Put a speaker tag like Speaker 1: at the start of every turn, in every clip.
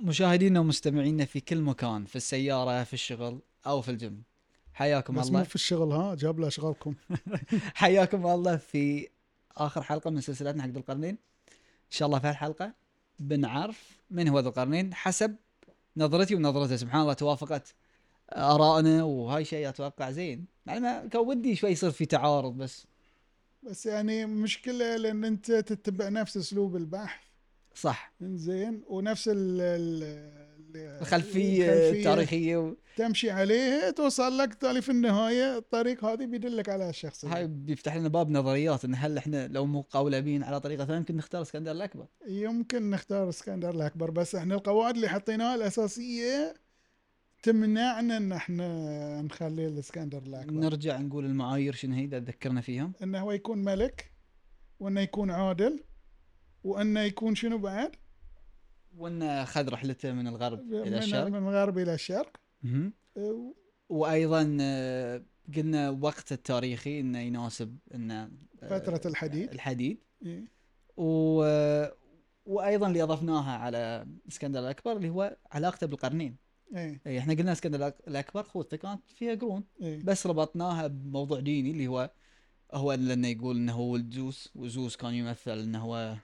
Speaker 1: مشاهدينا ومستمعينا في كل مكان في السياره في الشغل او في الجيم حياكم
Speaker 2: بس مو
Speaker 1: الله
Speaker 2: في الشغل ها جاب له اشغالكم
Speaker 1: حياكم الله في اخر حلقه من سلسلتنا حق ذو القرنين ان شاء الله في هالحلقه بنعرف من هو ذو القرنين حسب نظرتي ونظرته سبحان الله توافقت ارائنا وهاي شيء اتوقع زين يعني ما كان ودي شوي يصير في تعارض بس
Speaker 2: بس يعني مشكله لان انت تتبع نفس اسلوب البحث
Speaker 1: صح
Speaker 2: زين ونفس ال ال-
Speaker 1: الخلفيه التاريخيه و...
Speaker 2: تمشي عليها توصل لك تالي في النهايه الطريق هذه بيدلك على الشخص
Speaker 1: هاي بيفتح لنا باب نظريات ان هل احنا لو مقولبين على طريقه ثانيه يمكن نختار اسكندر الاكبر
Speaker 2: يمكن نختار اسكندر الاكبر بس احنا القواعد اللي حطيناها الاساسيه تمنعنا ان احنا نخلي الاسكندر الاكبر
Speaker 1: نرجع نقول المعايير شنو هي اذا تذكرنا فيها
Speaker 2: انه هو يكون ملك وانه يكون عادل وانه يكون شنو بعد؟
Speaker 1: وان خذ رحلته من الغرب
Speaker 2: من
Speaker 1: الى الشرق
Speaker 2: من الغرب الى الشرق
Speaker 1: مهم.
Speaker 2: أه،
Speaker 1: وايضا آه، قلنا وقت التاريخي انه يناسب انه آه،
Speaker 2: فترة الحديد.
Speaker 1: الحديد
Speaker 2: إيه.
Speaker 1: و وايضا اللي اضفناها على اسكندر الاكبر اللي هو علاقته بالقرنين
Speaker 2: ايه
Speaker 1: إي، احنا قلنا اسكندر الأك- الاكبر خوته كانت فيها قرون
Speaker 2: ايه
Speaker 1: بس ربطناها بموضوع ديني اللي هو هو لانه يقول انه هو ولد زوس وزوس كان يمثل انه هو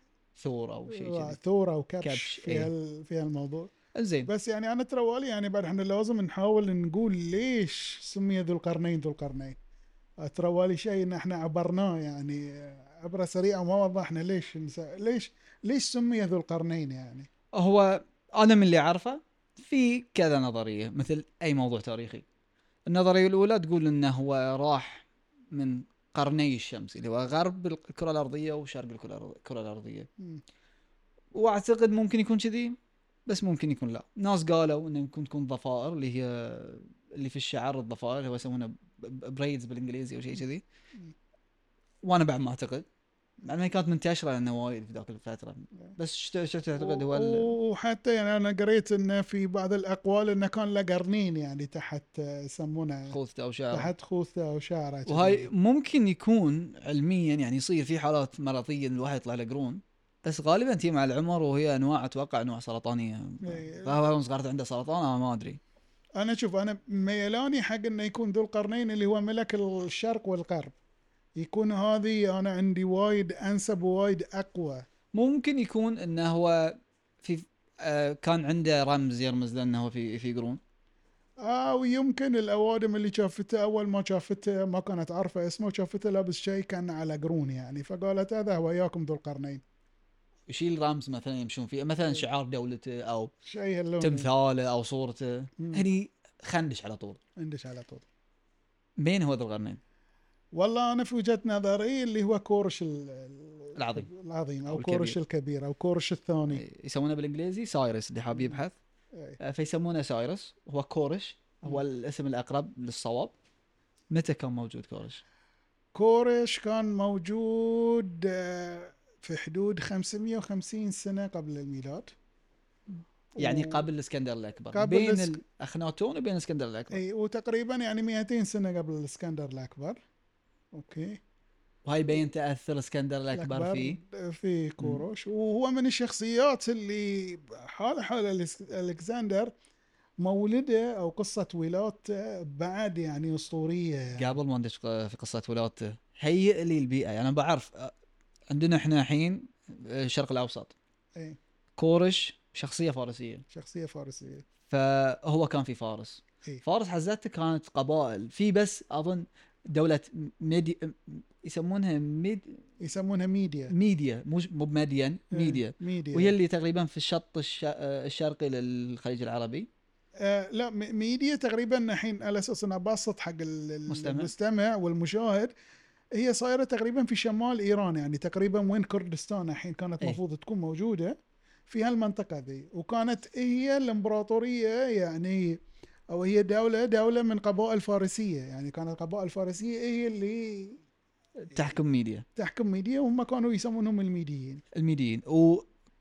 Speaker 1: ثور او شيء كذي
Speaker 2: ثوره وكبش
Speaker 1: كبش،
Speaker 2: في
Speaker 1: إيه.
Speaker 2: هال- في هالموضوع
Speaker 1: زين
Speaker 2: بس يعني انا تروالي يعني بعد احنا لازم نحاول نقول ليش سمي ذو القرنين ذو القرنين تروالي شيء ان احنا عبرناه يعني عبره سريعه وما وضحنا ليش نس- ليش ليش سمي ذو القرنين يعني
Speaker 1: هو انا من اللي اعرفه في كذا نظريه مثل اي موضوع تاريخي النظريه الاولى تقول انه هو راح من قرني الشمس اللي هو غرب الكره الارضيه وشرق الكره الأرض- الكرة الارضيه
Speaker 2: مم.
Speaker 1: واعتقد ممكن يكون كذي بس ممكن يكون لا ناس قالوا انه ممكن تكون ضفائر اللي هي اللي في الشعر الضفائر اللي هو يسمونه بريدز بالانجليزي او شيء كذي وانا بعد ما اعتقد مع انها كانت منتشره لانه وايد في ذاك الفتره بس شو شو تعتقد هو ال-
Speaker 2: وحتى يعني انا قريت انه في بعض الاقوال انه كان له قرنين يعني تحت يسمونه
Speaker 1: خوذته او شعره
Speaker 2: تحت خوذه او شعره
Speaker 1: وهاي ممكن يكون علميا يعني يصير في حالات مرضيه إن الواحد يطلع له قرون بس غالبا تي مع العمر وهي انواع اتوقع انواع سرطانيه
Speaker 2: إيه.
Speaker 1: فهو صغرت عنده سرطان انا ما ادري
Speaker 2: انا شوف انا ميلاني حق انه يكون ذو القرنين اللي هو ملك الشرق والغرب يكون هذه انا عندي وايد انسب وايد اقوى
Speaker 1: ممكن يكون انه هو في آه كان عنده رمز يرمز له انه هو في في قرون
Speaker 2: او يمكن الاوادم اللي شافته اول ما شافته ما كانت عارفه اسمه شافته لابس شيء كان على قرون يعني فقالت هذا هو ياكم ذو القرنين
Speaker 1: يشيل رمز مثلا يمشون فيه مثلا شعار دولته او
Speaker 2: شيء هاللون
Speaker 1: تمثاله او صورته
Speaker 2: مم.
Speaker 1: هني خندش على طول
Speaker 2: عندش على طول
Speaker 1: مين هو ذو القرنين؟
Speaker 2: والله انا في وجهه نظري اللي هو كورش ال- ال-
Speaker 1: العظيم.
Speaker 2: العظيم
Speaker 1: أو
Speaker 2: او
Speaker 1: الكبير.
Speaker 2: كورش الكبير او كورش الثاني
Speaker 1: يسمونه بالانجليزي سايرس اللي حاب يبحث
Speaker 2: إيه.
Speaker 1: آه، فيسمونه سايرس هو كورش هو الاسم الاقرب للصواب متى كان موجود كورش؟
Speaker 2: كورش كان موجود آه، في حدود 550 سنة قبل الميلاد
Speaker 1: يعني
Speaker 2: و-
Speaker 1: قبل الاسكندر الاكبر
Speaker 2: قبل
Speaker 1: بين
Speaker 2: الإسك- إيه.
Speaker 1: الاخناتون وبين الاسكندر الاكبر
Speaker 2: اي وتقريبا يعني 200 سنة قبل الاسكندر الأكبر اوكي
Speaker 1: وهاي بين تاثر الاسكندر الاكبر في
Speaker 2: في كوروش وهو من الشخصيات اللي حال حال الإس- الكسندر مولده او قصة ولادته بعد يعني اسطورية يعني.
Speaker 1: قبل ما ندش في قصه ولادته هيئ لي البيئه يعني انا بعرف آه، عندنا احنا الحين آه، الشرق الاوسط
Speaker 2: اي
Speaker 1: كورش شخصيه فارسيه
Speaker 2: شخصية فارسية
Speaker 1: فهو كان في فارس
Speaker 2: إيه.
Speaker 1: فارس حزتها كانت قبائل في بس اظن دوله ميدي يسمونها ميد
Speaker 2: يسمونها ميديا
Speaker 1: ميديا مو مو بمدين ميديا
Speaker 2: ميديا
Speaker 1: وهي اللي تقريبا في الشط الش- آه، الشرقي للخليج العربي
Speaker 2: آه لا م- ميديا تقريبا الحين على اساس انها بسط حق ال- ال-
Speaker 1: مستمع.
Speaker 2: المستمع والمشاهد هي صايره تقريبا في شمال ايران يعني تقريبا وين كردستان الحين كانت
Speaker 1: إيه.
Speaker 2: المفروض تكون موجوده في هالمنطقه ذي وكانت هي الامبراطوريه يعني او هي دوله دوله من قبائل فارسيه يعني كانت القبائل الفارسيه هي اللي
Speaker 1: تحكم ميديا
Speaker 2: تحكم ميديا وهم كانوا يسمونهم الميديين
Speaker 1: الميديين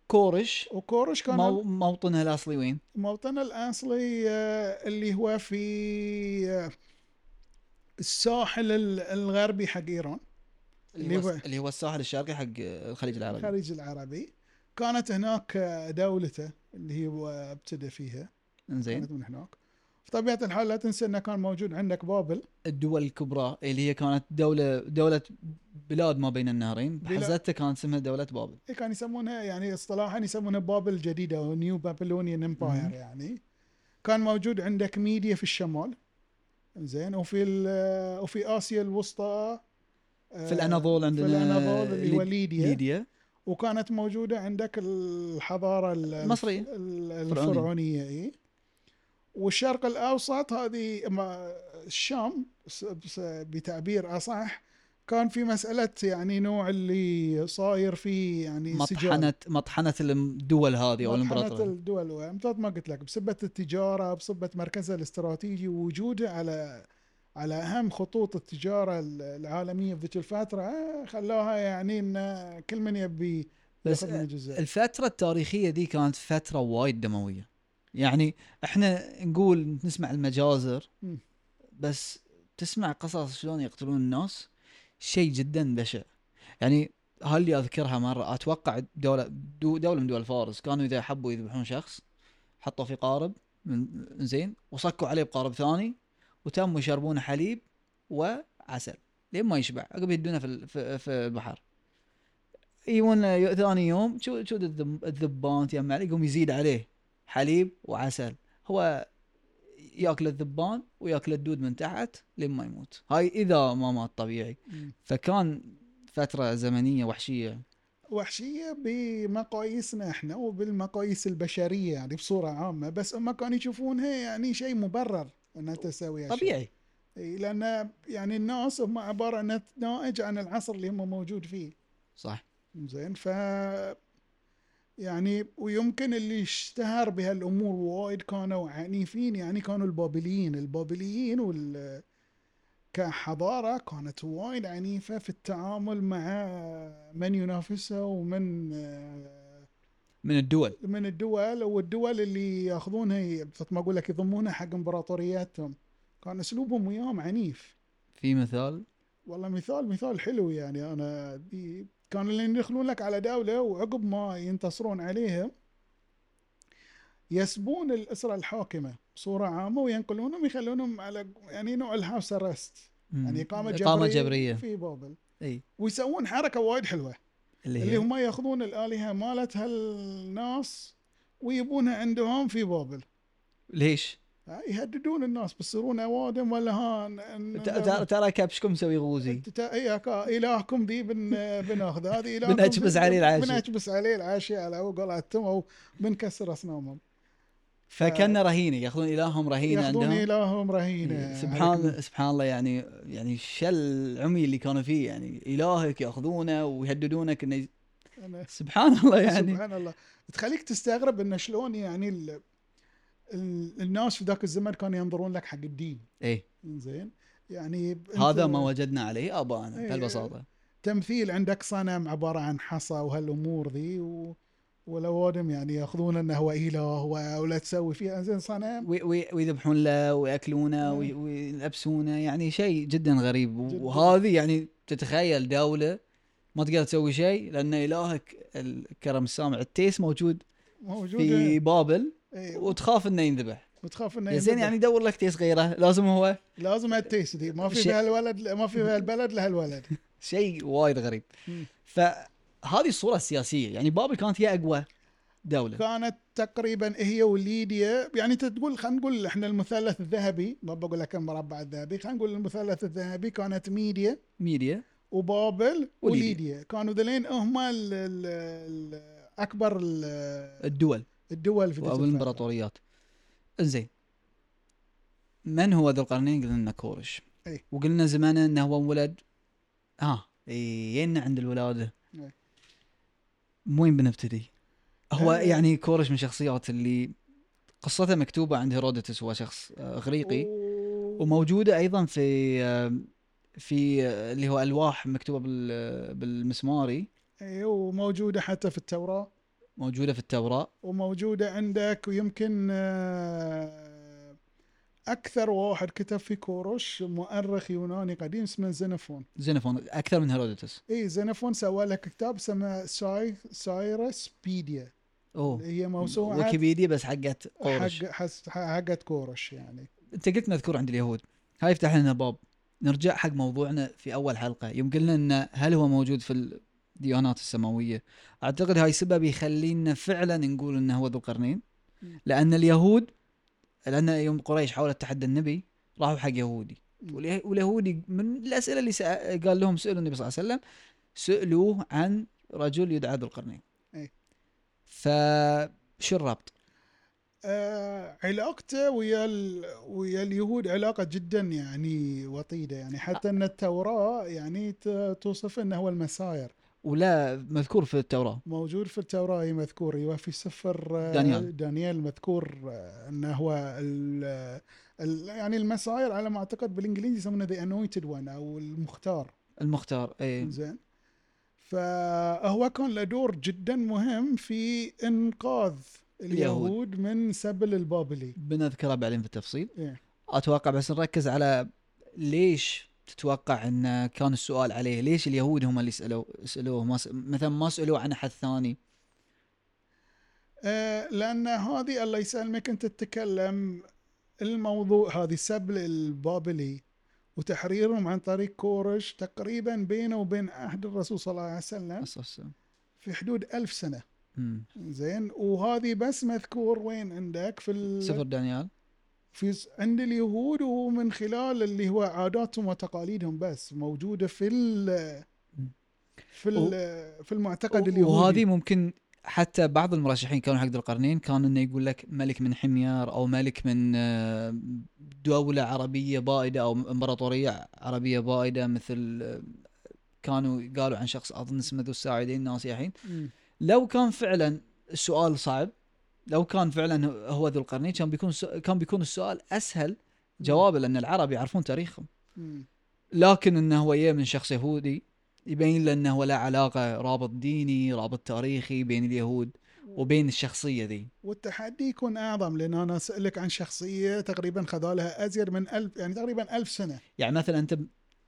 Speaker 1: وكورش
Speaker 2: وكورش كان
Speaker 1: مو موطنها الاصلي وين؟
Speaker 2: موطنه الاصلي آه، اللي هو في آه، الساحل ال- الغربي حق ايران
Speaker 1: اللي هو
Speaker 2: اللي هو-
Speaker 1: اللي هو الساحل الشرقي حق الخليج العربي
Speaker 2: الخليج العربي كانت هناك آه، دولته اللي هو ابتدى فيها
Speaker 1: انزين
Speaker 2: كانت من هناك بطبيعه الحال لا تنسى انه كان موجود عندك بابل
Speaker 1: الدول الكبرى اللي هي كانت دولة دولة بلاد ما بين النهرين
Speaker 2: بلا-
Speaker 1: بحزتها كان اسمها دولة بابل
Speaker 2: إيه كان يسمونها يعني اصطلاحا يسمونها بابل الجديده او نيو بابلونيان امباير
Speaker 1: مم.
Speaker 2: يعني كان موجود عندك ميديا في الشمال زين وفي ال- آه، وفي اسيا الوسطى
Speaker 1: في الاناضول عندنا
Speaker 2: في الاناضول اللي هو ليديا
Speaker 1: ليديا
Speaker 2: وكانت موجوده عندك الحضاره ال-
Speaker 1: المصرية.
Speaker 2: ال-
Speaker 1: الفرعونية.
Speaker 2: الفرعونيه اي والشرق الاوسط هذه ما- الشام س- بس- بتعبير اصح كان في مساله يعني نوع اللي صاير فيه يعني
Speaker 1: مطحنة مطحنة الدول هذه او
Speaker 2: مطحنة
Speaker 1: الامبراطورية
Speaker 2: الدول ومثل ما قلت لك بسبة التجارة بسبة مركزها الاستراتيجي ووجوده على على أهم خطوط التجارة العالمية في ذيك الفترة آه، خلوها يعني أن كل من يبي
Speaker 1: بس
Speaker 2: ياخذ من الجزء
Speaker 1: الفترة التاريخية دي كانت فترة وايد دموية يعني احنا نقول نسمع المجازر
Speaker 2: مم.
Speaker 1: بس تسمع قصص شلون يقتلون الناس شيء جدا بشع يعني هل اللي اذكرها مرة اتوقع دولة دو دولة من دول فارس كانوا اذا حبوا يذبحون شخص حطوا في قارب من زين وصكوا عليه بقارب ثاني وتموا يشربونه حليب وعسل لين ما يشبع عقب يدونه في ال- في- في البحر يجون ي- ثاني يوم شو شو الذب- الذبان تجمع عليه، يقوم يزيد عليه حليب وعسل هو ياكل الذبان وياكل الدود من تحت لين ما يموت هاي اذا ما مات طبيعي
Speaker 2: مم.
Speaker 1: فكان فتره زمنيه وحشيه
Speaker 2: وحشية بمقاييسنا احنا وبالمقاييس البشرية يعني بصورة عامة بس هم كانوا يشوفونها يعني شيء مبرر أنها تسوي هالشيء.
Speaker 1: طبيعي
Speaker 2: إي، لأن يعني الناس هم عبارة عن ناتج عن العصر اللي هم موجود فيه
Speaker 1: صح
Speaker 2: زين ف يعني ويمكن اللي اشتهر بهالامور وايد كانوا عنيفين يعني كانوا البابليين، البابليين وال كحضاره كانت وايد عنيفه في التعامل مع من ينافسها ومن
Speaker 1: من الدول
Speaker 2: من الدول والدول اللي ياخذونها مثل ما اقول لك يضمونها حق امبراطورياتهم. كان اسلوبهم وياهم عنيف.
Speaker 1: في مثال
Speaker 2: والله مثال مثال حلو يعني انا دي كانوا اللي يدخلون لك على دوله وعقب ما ينتصرون عليها يسبون الاسره الحاكمه بصوره عامه وينقلونهم يخلونهم على يعني نوع الهاوس ارست
Speaker 1: مم.
Speaker 2: يعني اقامه جبريه
Speaker 1: اقامه جبريه
Speaker 2: في بابل
Speaker 1: اي
Speaker 2: ويسوون حركه وايد حلوه
Speaker 1: اللي,
Speaker 2: اللي
Speaker 1: هي
Speaker 2: هم ياخذون الالهه مالت هالناس ويبونها عندهم في بابل
Speaker 1: ليش؟
Speaker 2: ها، يهددون الناس بيصيرون اوادم ولا هان
Speaker 1: ت- ترى- ترى كابشكم مسوي غوزي
Speaker 2: انت تا- إيه، اي كا- الهكم ذي بن بناخذ هذه الهكم
Speaker 1: بنأجبس
Speaker 2: ذي-
Speaker 1: عليه العاشي.
Speaker 2: بنأجبس عليه العاشي على قولتهم او بنكسر اصنامهم
Speaker 1: فكنا رهينه ياخذون الههم رهينه
Speaker 2: ياخذون
Speaker 1: إيه، عندهم
Speaker 2: الههم رهينه
Speaker 1: إيه، سبحان
Speaker 2: عليكم.
Speaker 1: سبحان الله يعني يعني شل عمي اللي كانوا فيه يعني الهك ياخذونه ويهددونك انه ي-
Speaker 2: أنا-
Speaker 1: سبحان الله يعني
Speaker 2: سبحان الله تخليك تستغرب انه شلون يعني ال... ال... الناس في ذاك الزمن كانوا ينظرون لك حق الدين
Speaker 1: ايه
Speaker 2: زين يعني ب-
Speaker 1: هذا
Speaker 2: أنت
Speaker 1: ما وجدنا عليه ابانا
Speaker 2: إيه.
Speaker 1: بهالبساطه
Speaker 2: تمثيل عندك صنم عباره عن حصى وهالامور ذي و... والاوادم يعني ياخذون انه هو اله و- ولا تسوي فيه زين صنم
Speaker 1: وي- وي- ويذبحون له وياكلونه وي-
Speaker 2: إيه.
Speaker 1: ويلبسونه يعني شيء جدا غريب و-
Speaker 2: جداً.
Speaker 1: وهذه يعني تتخيل دوله ما تقدر تسوي شيء لان الهك الكرم السامع التيس موجود
Speaker 2: موجوده
Speaker 1: في بابل
Speaker 2: إيه،
Speaker 1: وتخاف انه ينذبح
Speaker 2: وتخاف انه
Speaker 1: يا زين
Speaker 2: ينذبح.
Speaker 1: يعني دور لك تيس غيره لازم هو
Speaker 2: لازم هالتيس دي ما في
Speaker 1: شيء-
Speaker 2: بهالولد ما في بهالبلد لهالولد
Speaker 1: شيء وايد غريب
Speaker 2: مم.
Speaker 1: فهذه الصوره السياسيه يعني بابل كانت هي اقوى دوله
Speaker 2: كانت تقريبا هي وليديا يعني انت تقول خلينا نقول احنا المثلث الذهبي ما بقول لك المربع الذهبي خلينا نقول المثلث الذهبي كانت ميديا
Speaker 1: ميديا
Speaker 2: وبابل
Speaker 1: وليديا.
Speaker 2: وليديا كانوا ذلين هم ال- ال- ال- اكبر ال-
Speaker 1: الدول
Speaker 2: الدول في ذيك الفترة.
Speaker 1: والامبراطوريات انزين من هو ذو القرنين قلنا انه كورش
Speaker 2: أي.
Speaker 1: وقلنا زمانه انه هو ولد ها ينا عند الولاده
Speaker 2: أي.
Speaker 1: من وين بنبتدي؟ هو
Speaker 2: آه.
Speaker 1: يعني كورش من شخصيات اللي قصته مكتوبه عند هيرودوتس هو شخص آه، اغريقي
Speaker 2: و-
Speaker 1: وموجوده ايضا في آه، في آه، اللي هو الواح مكتوبه بال- آه، بالمسماري
Speaker 2: إيه، وموجوده حتى في التوراه
Speaker 1: موجوده في التوراه
Speaker 2: وموجودة عندك ويمكن آه، اكثر واحد كتب في كوروش مؤرخ يوناني قديم اسمه زينفون
Speaker 1: زينفون اكثر من هيرودوتس
Speaker 2: اي زينفون سوى له كتاب اسمه ساي سايرس بيديا
Speaker 1: اوه
Speaker 2: هي موسوعه
Speaker 1: ويكيبيديا بس حقت قورش
Speaker 2: حق حس- حقت كورش يعني
Speaker 1: انت قلت مذكور عند اليهود هاي يفتح لنا باب نرجع حق موضوعنا في اول حلقه يوم قلنا انه هل هو موجود في الديانات السماويه اعتقد هاي سبب يخلينا فعلا نقول انه هو ذو القرنين
Speaker 2: مم.
Speaker 1: لان اليهود لان يوم قريش حاولت تحدى النبي راحوا حق يهودي
Speaker 2: مم.
Speaker 1: واليه- واليهودي من الاسئله اللي سأ... قال لهم سالوا النبي صلى الله عليه وسلم سالوه عن رجل يدعى ذو القرنين
Speaker 2: إيه.
Speaker 1: فشو الربط؟
Speaker 2: آه علاقته ويا ال... ويا اليهود علاقه جدا يعني وطيده يعني حتى ان التوراه يعني ت- توصف انه هو المساير
Speaker 1: ولا مذكور في التوراه
Speaker 2: موجود في التوراه أي مذكور وفي سفر آه،
Speaker 1: دانيال.
Speaker 2: دانيال مذكور آه، انه هو ال... ال... يعني المساير على ما اعتقد بالانجليزي يسمونه ذا انويتد وان او المختار
Speaker 1: المختار إيه. اي
Speaker 2: زين فهو كان له دور جدا مهم في انقاذ
Speaker 1: اليهود.
Speaker 2: اليهود من سبل البابلي
Speaker 1: بنذكره بعدين في التفصيل
Speaker 2: إيه.
Speaker 1: اتوقع بس نركز على ليش تتوقع ان كان السؤال عليه ليش اليهود هم اللي سالوا سالوه ما س... مثلا ما سالوه عن احد ثاني
Speaker 2: إيه. آه، لان هذه الله يسلمك انت تتكلم الموضوع هذه سبل البابلي وتحريرهم عن طريق كورش تقريبا بينه وبين عهد الرسول صلى الله عليه وسلم
Speaker 1: اساسا
Speaker 2: في حدود ألف سنة
Speaker 1: أمم.
Speaker 2: زين وهذه بس مذكور وين عندك في ال...
Speaker 1: سفر دانيال
Speaker 2: في س- عند اليهود ومن خلال اللي هو عاداتهم وتقاليدهم بس موجوده في ال في ال في المعتقد اليهودي
Speaker 1: وهذه ممكن حتى بعض المرشحين كانوا حق ذو القرنين كان انه يقول لك ملك من حمير او ملك من آه، دوله عربيه بائده او امبراطوريه عربيه بائده مثل آه، كانوا قالوا عن شخص اظن اسمه ذو الساعدين ناسي الحين
Speaker 2: مم.
Speaker 1: لو كان فعلا السؤال صعب لو كان فعلا هو ذو القرنين كان بيكون كان بيكون السؤال اسهل جوابه لان العرب يعرفون تاريخهم
Speaker 2: مم.
Speaker 1: لكن انه هو جاي من شخص يهودي يبين له انه ولا علاقه رابط ديني رابط تاريخي بين اليهود وبين الشخصيه ذي
Speaker 2: والتحدي يكون اعظم لان انا اسالك عن شخصيه تقريبا خذالها ازيد من ألف يعني تقريبا ألف سنه
Speaker 1: يعني مثلا انت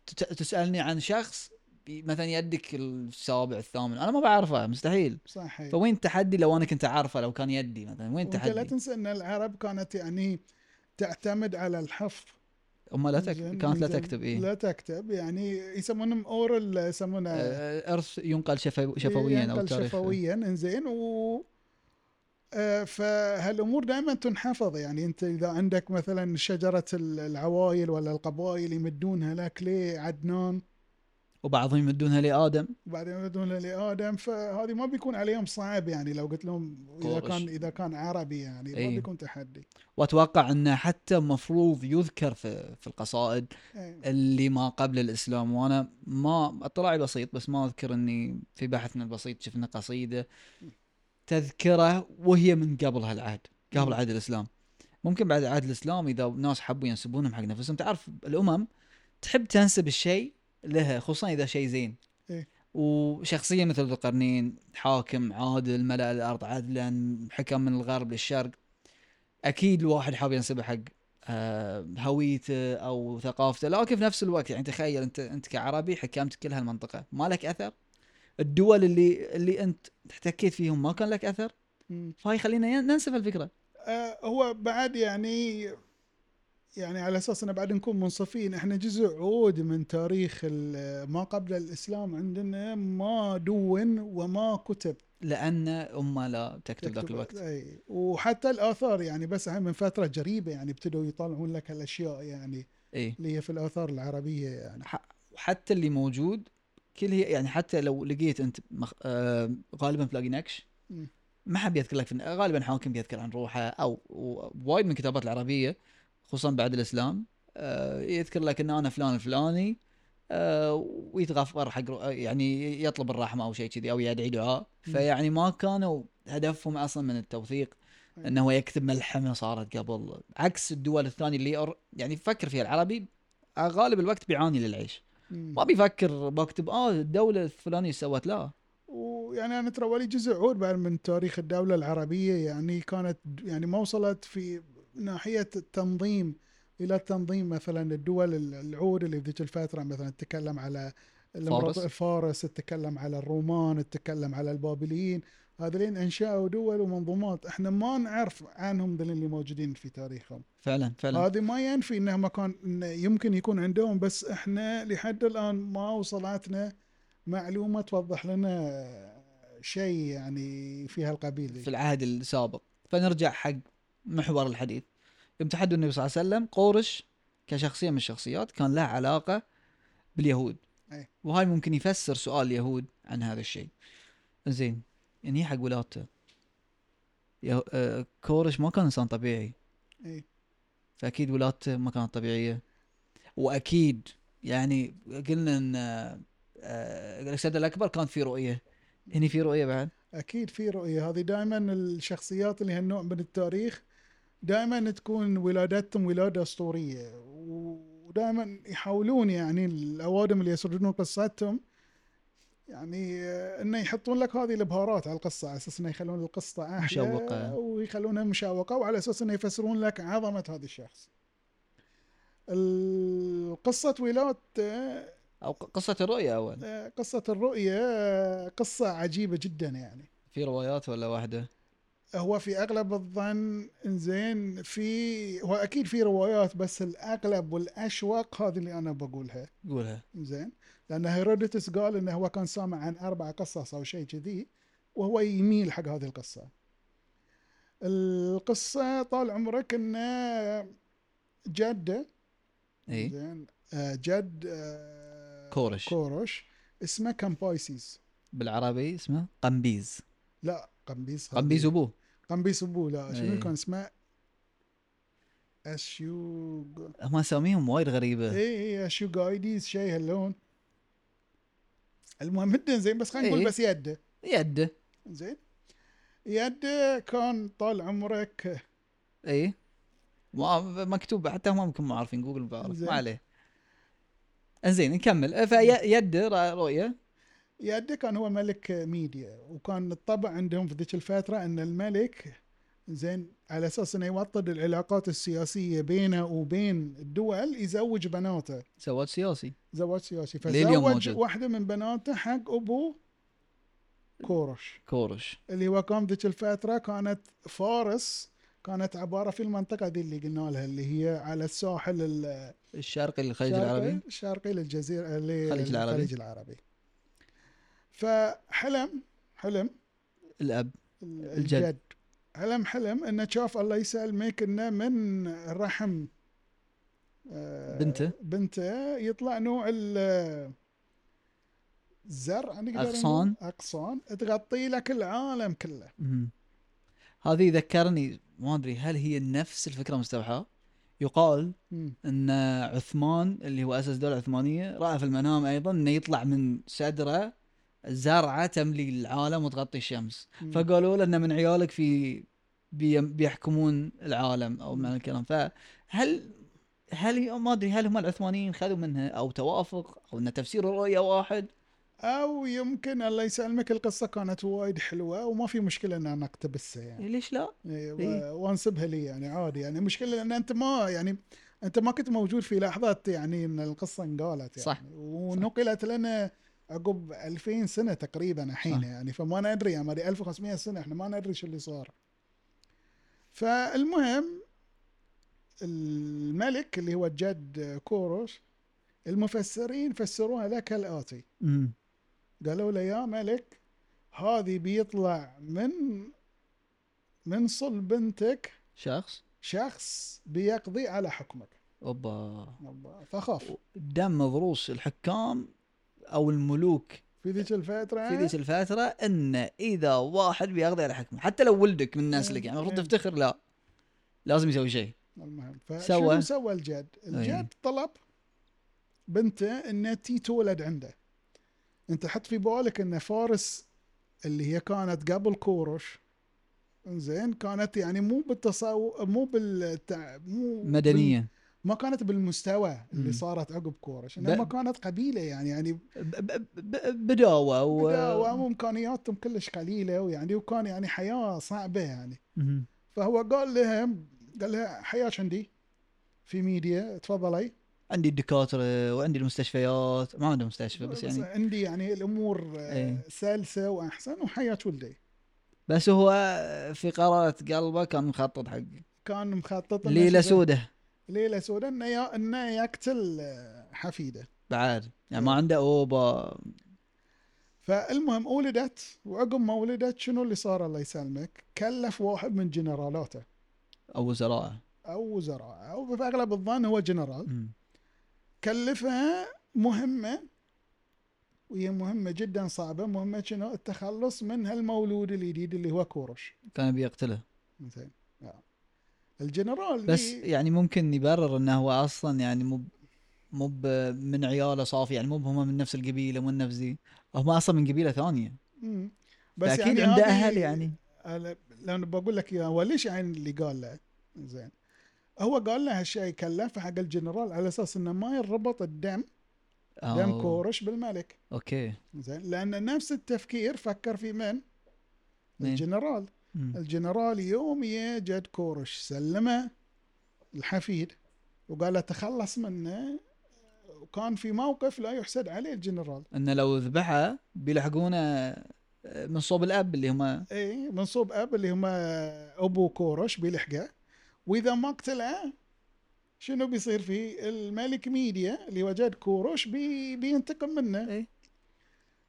Speaker 1: تت- تسالني عن شخص بي- مثلا يدك السابع الثامن انا ما بعرفه مستحيل
Speaker 2: صح هي.
Speaker 1: فوين التحدي لو انا كنت عارفه لو كان يدي مثلا وين
Speaker 2: وانت إيه. لا
Speaker 1: التحدي؟
Speaker 2: تنسى ان العرب كانت يعني تعتمد على الحفظ
Speaker 1: هم لا
Speaker 2: زين،
Speaker 1: تك... كانت لا
Speaker 2: إذا
Speaker 1: تكتب ايه
Speaker 2: لا تكتب يعني يسمونهم اورال يسمونه
Speaker 1: آه، ارث ينقل شفوي- شفويا او
Speaker 2: ينقل
Speaker 1: تاريخ
Speaker 2: شفويا انزين و آه، فهالامور دائما تنحفظ يعني انت اذا عندك مثلا شجره ال- العوائل ولا القبائل يمدونها لك لعدنان
Speaker 1: وبعضهم يمدونها لادم
Speaker 2: وبعدين "آه، يمدونها لادم فهذه ما بيكون عليهم صعب يعني لو قلت لهم اذا
Speaker 1: كورش.
Speaker 2: كان اذا كان عربي يعني ما
Speaker 1: إي.
Speaker 2: بيكون تحدي
Speaker 1: واتوقع انه حتى مفروض يذكر في, في القصائد
Speaker 2: إي.
Speaker 1: اللي ما قبل الاسلام وانا ما اطلاعي بسيط بس ما اذكر اني في بحثنا البسيط شفنا قصيده تذكره وهي من قبل هالعهد قبل
Speaker 2: مم.
Speaker 1: عهد الاسلام ممكن بعد عهد الاسلام اذا ناس حبوا ينسبونهم حق نفسهم تعرف الامم تحب تنسب الشيء لها خصوصا اذا شيء زين
Speaker 2: إيه.
Speaker 1: وشخصيه مثل ذو القرنين حاكم عادل ملا الارض عدلا حكم من الغرب للشرق اكيد الواحد حاب ينسبه حق آه، هويته او ثقافته لكن في نفس الوقت يعني تخيل انت انت كعربي حكمت كل هالمنطقه ما لك اثر الدول اللي اللي انت احتكيت فيهم ما كان لك اثر
Speaker 2: مم.
Speaker 1: فهاي خلينا ين- ننسف الفكره
Speaker 2: آه، هو بعد يعني يعني على اساس ان بعد نكون منصفين احنا جزء عود من تاريخ ال- ما قبل الاسلام عندنا ما دون وما كتب
Speaker 1: لان امه لا تكتب ذاك
Speaker 2: يكتب-
Speaker 1: الوقت
Speaker 2: اي وحتى الاثار يعني بس هم من فتره قريبه يعني ابتدوا يطلعون لك الاشياء يعني
Speaker 1: اي
Speaker 2: اللي هي في الاثار العربيه يعني
Speaker 1: ح- وحتى اللي موجود كل هي يعني حتى لو لقيت انت مخ... آه غالبا تلاقي نكش
Speaker 2: مم.
Speaker 1: ما حد بيذكر لك في... غالبا حاكم بيذكر عن روحه او و- وايد من الكتابات العربيه خصوصا بعد الاسلام آه يذكر لك ان انا فلان الفلاني آه ويتغفر حق رو... آه، يعني يطلب الرحمه او شيء كذي او يدعي دعاء
Speaker 2: مم.
Speaker 1: فيعني ما كانوا هدفهم اصلا من التوثيق
Speaker 2: أي.
Speaker 1: انه يكتب ملحمه صارت قبل عكس الدول الثانيه اللي أر- يعني فكر فيها العربي آه، غالب الوقت بيعاني للعيش
Speaker 2: مم.
Speaker 1: ما بيفكر بكتب اه الدوله الفلانيه سوت لا
Speaker 2: ويعني انا ترى ولي جزء عود بعد من تاريخ الدوله العربيه يعني كانت يعني ما وصلت في ناحيه التنظيم الى تنظيم مثلا الدول العود اللي بذيك الفتره مثلا تتكلم على الامراء-
Speaker 1: فارس.
Speaker 2: فارس تتكلم على الرومان تتكلم على البابليين هذولين انشأوا دول ومنظومات احنا ما نعرف عنهم ذلين اللي موجودين في تاريخهم
Speaker 1: فعلا فعلا
Speaker 2: هذه ما ينفي انهم كان إن يمكن يكون عندهم بس احنا لحد الان ما وصلتنا معلومه توضح لنا شيء يعني في هالقبيل
Speaker 1: في العهد السابق فنرجع حق محور الحديث يوم تحدث النبي صلى الله عليه وسلم قورش كشخصية من الشخصيات كان لها علاقة باليهود
Speaker 2: أي.
Speaker 1: وهاي ممكن يفسر سؤال اليهود عن هذا الشيء زين يعني حق ولادته يه- آه، كورش ما كان انسان طبيعي
Speaker 2: إي.
Speaker 1: فاكيد ولادته ما كانت طبيعيه واكيد يعني قلنا ان آه، آه، الكساد الاكبر كان في رؤيه هني في رؤيه بعد
Speaker 2: اكيد في رؤيه هذه دائما الشخصيات اللي هالنوع من التاريخ دائما تكون ولادتهم ولاده اسطوريه ودائما يحاولون يعني الاوادم اللي يسردون قصتهم يعني آه، انه يحطون لك هذه البهارات على القصه على اساس انه يخلون القصه أحياء
Speaker 1: مشوقة.
Speaker 2: ويخلونها مشوقه وعلى اساس انه يفسرون لك عظمه هذا الشخص. القصه ولادته
Speaker 1: او ق- قصه الرؤيه اول
Speaker 2: آه، قصه الرؤيه آه، قصه عجيبه جدا يعني.
Speaker 1: في روايات ولا واحده
Speaker 2: هو في اغلب الظن انزين في هو اكيد في روايات بس الاغلب والاشوق هذه اللي انا بقولها
Speaker 1: قولها
Speaker 2: زين لان هيرودوتس قال انه هو كان سامع عن اربع قصص او شيء كذي وهو يميل حق هذه القصه القصه طال عمرك انه جده
Speaker 1: اي
Speaker 2: زين آه، جد آه،
Speaker 1: كورش.
Speaker 2: كورش اسمه كان بايسيس
Speaker 1: بالعربي اسمه قنبيز
Speaker 2: لا قمبيس هذه-
Speaker 1: قنبيز ابوه
Speaker 2: قمبيس ابو لا شنو
Speaker 1: إيه.
Speaker 2: كان اسمه اشيو
Speaker 1: هم اساميهم وايد غريبه
Speaker 2: اي اي اشيو جايديز شيء هاللون المهم جدا زين بس خلينا نقول
Speaker 1: إيه.
Speaker 2: بس يده
Speaker 1: يده
Speaker 2: زين يده كان طال عمرك
Speaker 1: اي ما مكتوب حتى هم يمكن ما عارفين جوجل بعرف
Speaker 2: زين.
Speaker 1: ما عليه زين نكمل فيد رؤيه
Speaker 2: يده كان هو ملك ميديا وكان الطبع عندهم في ذيك الفتره ان الملك زين على اساس انه يوطد العلاقات السياسيه بينه وبين الدول يزوج بناته
Speaker 1: سواد سياسي
Speaker 2: زواج سياسي
Speaker 1: لليوم
Speaker 2: فزوج
Speaker 1: موجود.
Speaker 2: واحده من بناته حق ابو كورش
Speaker 1: كورش
Speaker 2: اللي هو كان ذيك الفتره كانت فارس كانت عباره في المنطقه دي اللي قلنا لها اللي هي على الساحل الشرقي
Speaker 1: الشرقي للخليج العربي
Speaker 2: الشرقي للجزيره
Speaker 1: الخليج
Speaker 2: للخليج
Speaker 1: العربي.
Speaker 2: العربي. العربي فحلم حلم
Speaker 1: الاب
Speaker 2: ال-
Speaker 1: الجد.
Speaker 2: الجد حلم حلم انه شاف الله يسلمك انه من رحم آه،
Speaker 1: بنته.
Speaker 2: بنته يطلع نوع ال- الزرع نقدر نقول.
Speaker 1: أغصان.
Speaker 2: اغصان تغطي لك العالم كله
Speaker 1: مهم. هذه ذكرني ما ادري هل هي نفس الفكره مستوحاه يقال
Speaker 2: مم.
Speaker 1: ان عثمان اللي هو اسس الدوله العثمانيه راى في المنام ايضا انه يطلع من سدره زرعه تملي العالم وتغطي الشمس
Speaker 2: مم.
Speaker 1: فقالوا له ان من عيالك في بي- بيحكمون العالم او معنى الكلام فهل هل ما ادري هل هم العثمانيين خذوا منها او توافق او ان تفسير الرؤيه واحد
Speaker 2: او يمكن الله يسلمك القصه كانت وايد حلوه وما في مشكله ان انا اقتبسها يعني
Speaker 1: ليش لا؟
Speaker 2: إيه، و-
Speaker 1: إيه.
Speaker 2: وانسبها لي يعني عادي يعني المشكله لان انت ما يعني انت ما كنت موجود في لحظات يعني ان القصه انقالت يعني
Speaker 1: صح.
Speaker 2: ونقلت لنا عقب 2000 سنه تقريبا الحين
Speaker 1: صح.
Speaker 2: يعني فما ندري يعني ما أدري 1500 سنه احنا ما ندري شو اللي صار فالمهم الملك اللي هو الجد كوروش المفسرين فسروها لك كالاتي
Speaker 1: امم
Speaker 2: قالوا له يا ملك هذه بيطلع من من صلب بنتك
Speaker 1: شخص
Speaker 2: شخص بيقضي على حكمك
Speaker 1: اوبا
Speaker 2: الله، فخاف
Speaker 1: دم ضروس الحكام او الملوك
Speaker 2: في ذيك الفترة
Speaker 1: في ذيك الفتره ان اذا واحد بيقضي على حكمه حتى لو ولدك من نسلك يعني المفروض
Speaker 2: إيه.
Speaker 1: تفتخر لا لازم يسوي شيء
Speaker 2: المهم فشنو
Speaker 1: سوى؟
Speaker 2: سوى الجد؟
Speaker 1: أي.
Speaker 2: الجد طلب بنته انها تي تولد عنده انت حط في بالك ان فارس اللي هي كانت قبل كورش زين كانت يعني مو بالتصاو مو بالتع... مو بال-
Speaker 1: مدنيه
Speaker 2: ما كانت بالمستوى اللي
Speaker 1: مم.
Speaker 2: صارت عقب كورش
Speaker 1: ب-
Speaker 2: انما كانت قبيله يعني يعني
Speaker 1: ب- ب- ب- بداوه و...
Speaker 2: بداوه وامكانياتهم كلش قليله ويعني وكان يعني حياه صعبه يعني
Speaker 1: مهم.
Speaker 2: فهو قال لها قال لها حياك عندي في ميديا تفضلي
Speaker 1: عندي الدكاتره وعندي المستشفيات ما عندهم مستشفى بس يعني
Speaker 2: عندي يعني الامور آه،
Speaker 1: إيه.
Speaker 2: سلسه واحسن وحياه ولدي
Speaker 1: بس هو في قرارة قلبه كان مخطط حق
Speaker 2: كان مخطط إنه
Speaker 1: ليله
Speaker 2: شذا-
Speaker 1: سودة
Speaker 2: ليله سوداء انه يا- انه يقتل آه، حفيده
Speaker 1: بعد يعني
Speaker 2: إيه.
Speaker 1: ما عنده اوبا
Speaker 2: فالمهم ولدت وعقب ما ولدت شنو اللي صار الله يسلمك كلف واحد من جنرالاته
Speaker 1: او وزراء
Speaker 2: او وزراء او في اغلب الظن هو جنرال
Speaker 1: أمم.
Speaker 2: كلفها مهمة وهي مهمة جدا صعبة مهمة شنو التخلص من هالمولود الجديد اللي هو كورش
Speaker 1: كان يبي يقتله
Speaker 2: زين آه. الجنرال
Speaker 1: بس
Speaker 2: دي-
Speaker 1: يعني ممكن يبرر انه هو اصلا يعني مو مو ب- من عياله صافي يعني مو هم من نفس القبيله مو من نفس ذي هم اصلا من قبيله ثانيه
Speaker 2: مم.
Speaker 1: بس اكيد يعني عنده
Speaker 2: هذه-
Speaker 1: اهل يعني
Speaker 2: أنا- لأن بقول لك يا هو ليش عين اللي قال له زين هو قال له هالشيء كلفه حق الجنرال على اساس انه ما يربط الدم دم
Speaker 1: أو-
Speaker 2: كورش بالملك
Speaker 1: اوكي
Speaker 2: زين لان نفس التفكير فكر في من؟
Speaker 1: مين؟
Speaker 2: الجنرال
Speaker 1: أمم.
Speaker 2: الجنرال يوميا جد كورش سلمه الحفيد وقال له تخلص منه وكان في موقف لا يحسد عليه الجنرال
Speaker 1: انه لو ذبحه بيلحقونه من صوب الاب اللي هم
Speaker 2: اي منصوب اب اللي هم ابو كورش بيلحقه واذا ما قتله شنو بيصير فيه الملك ميديا اللي وجد كورش بي بينتقم منه
Speaker 1: إي.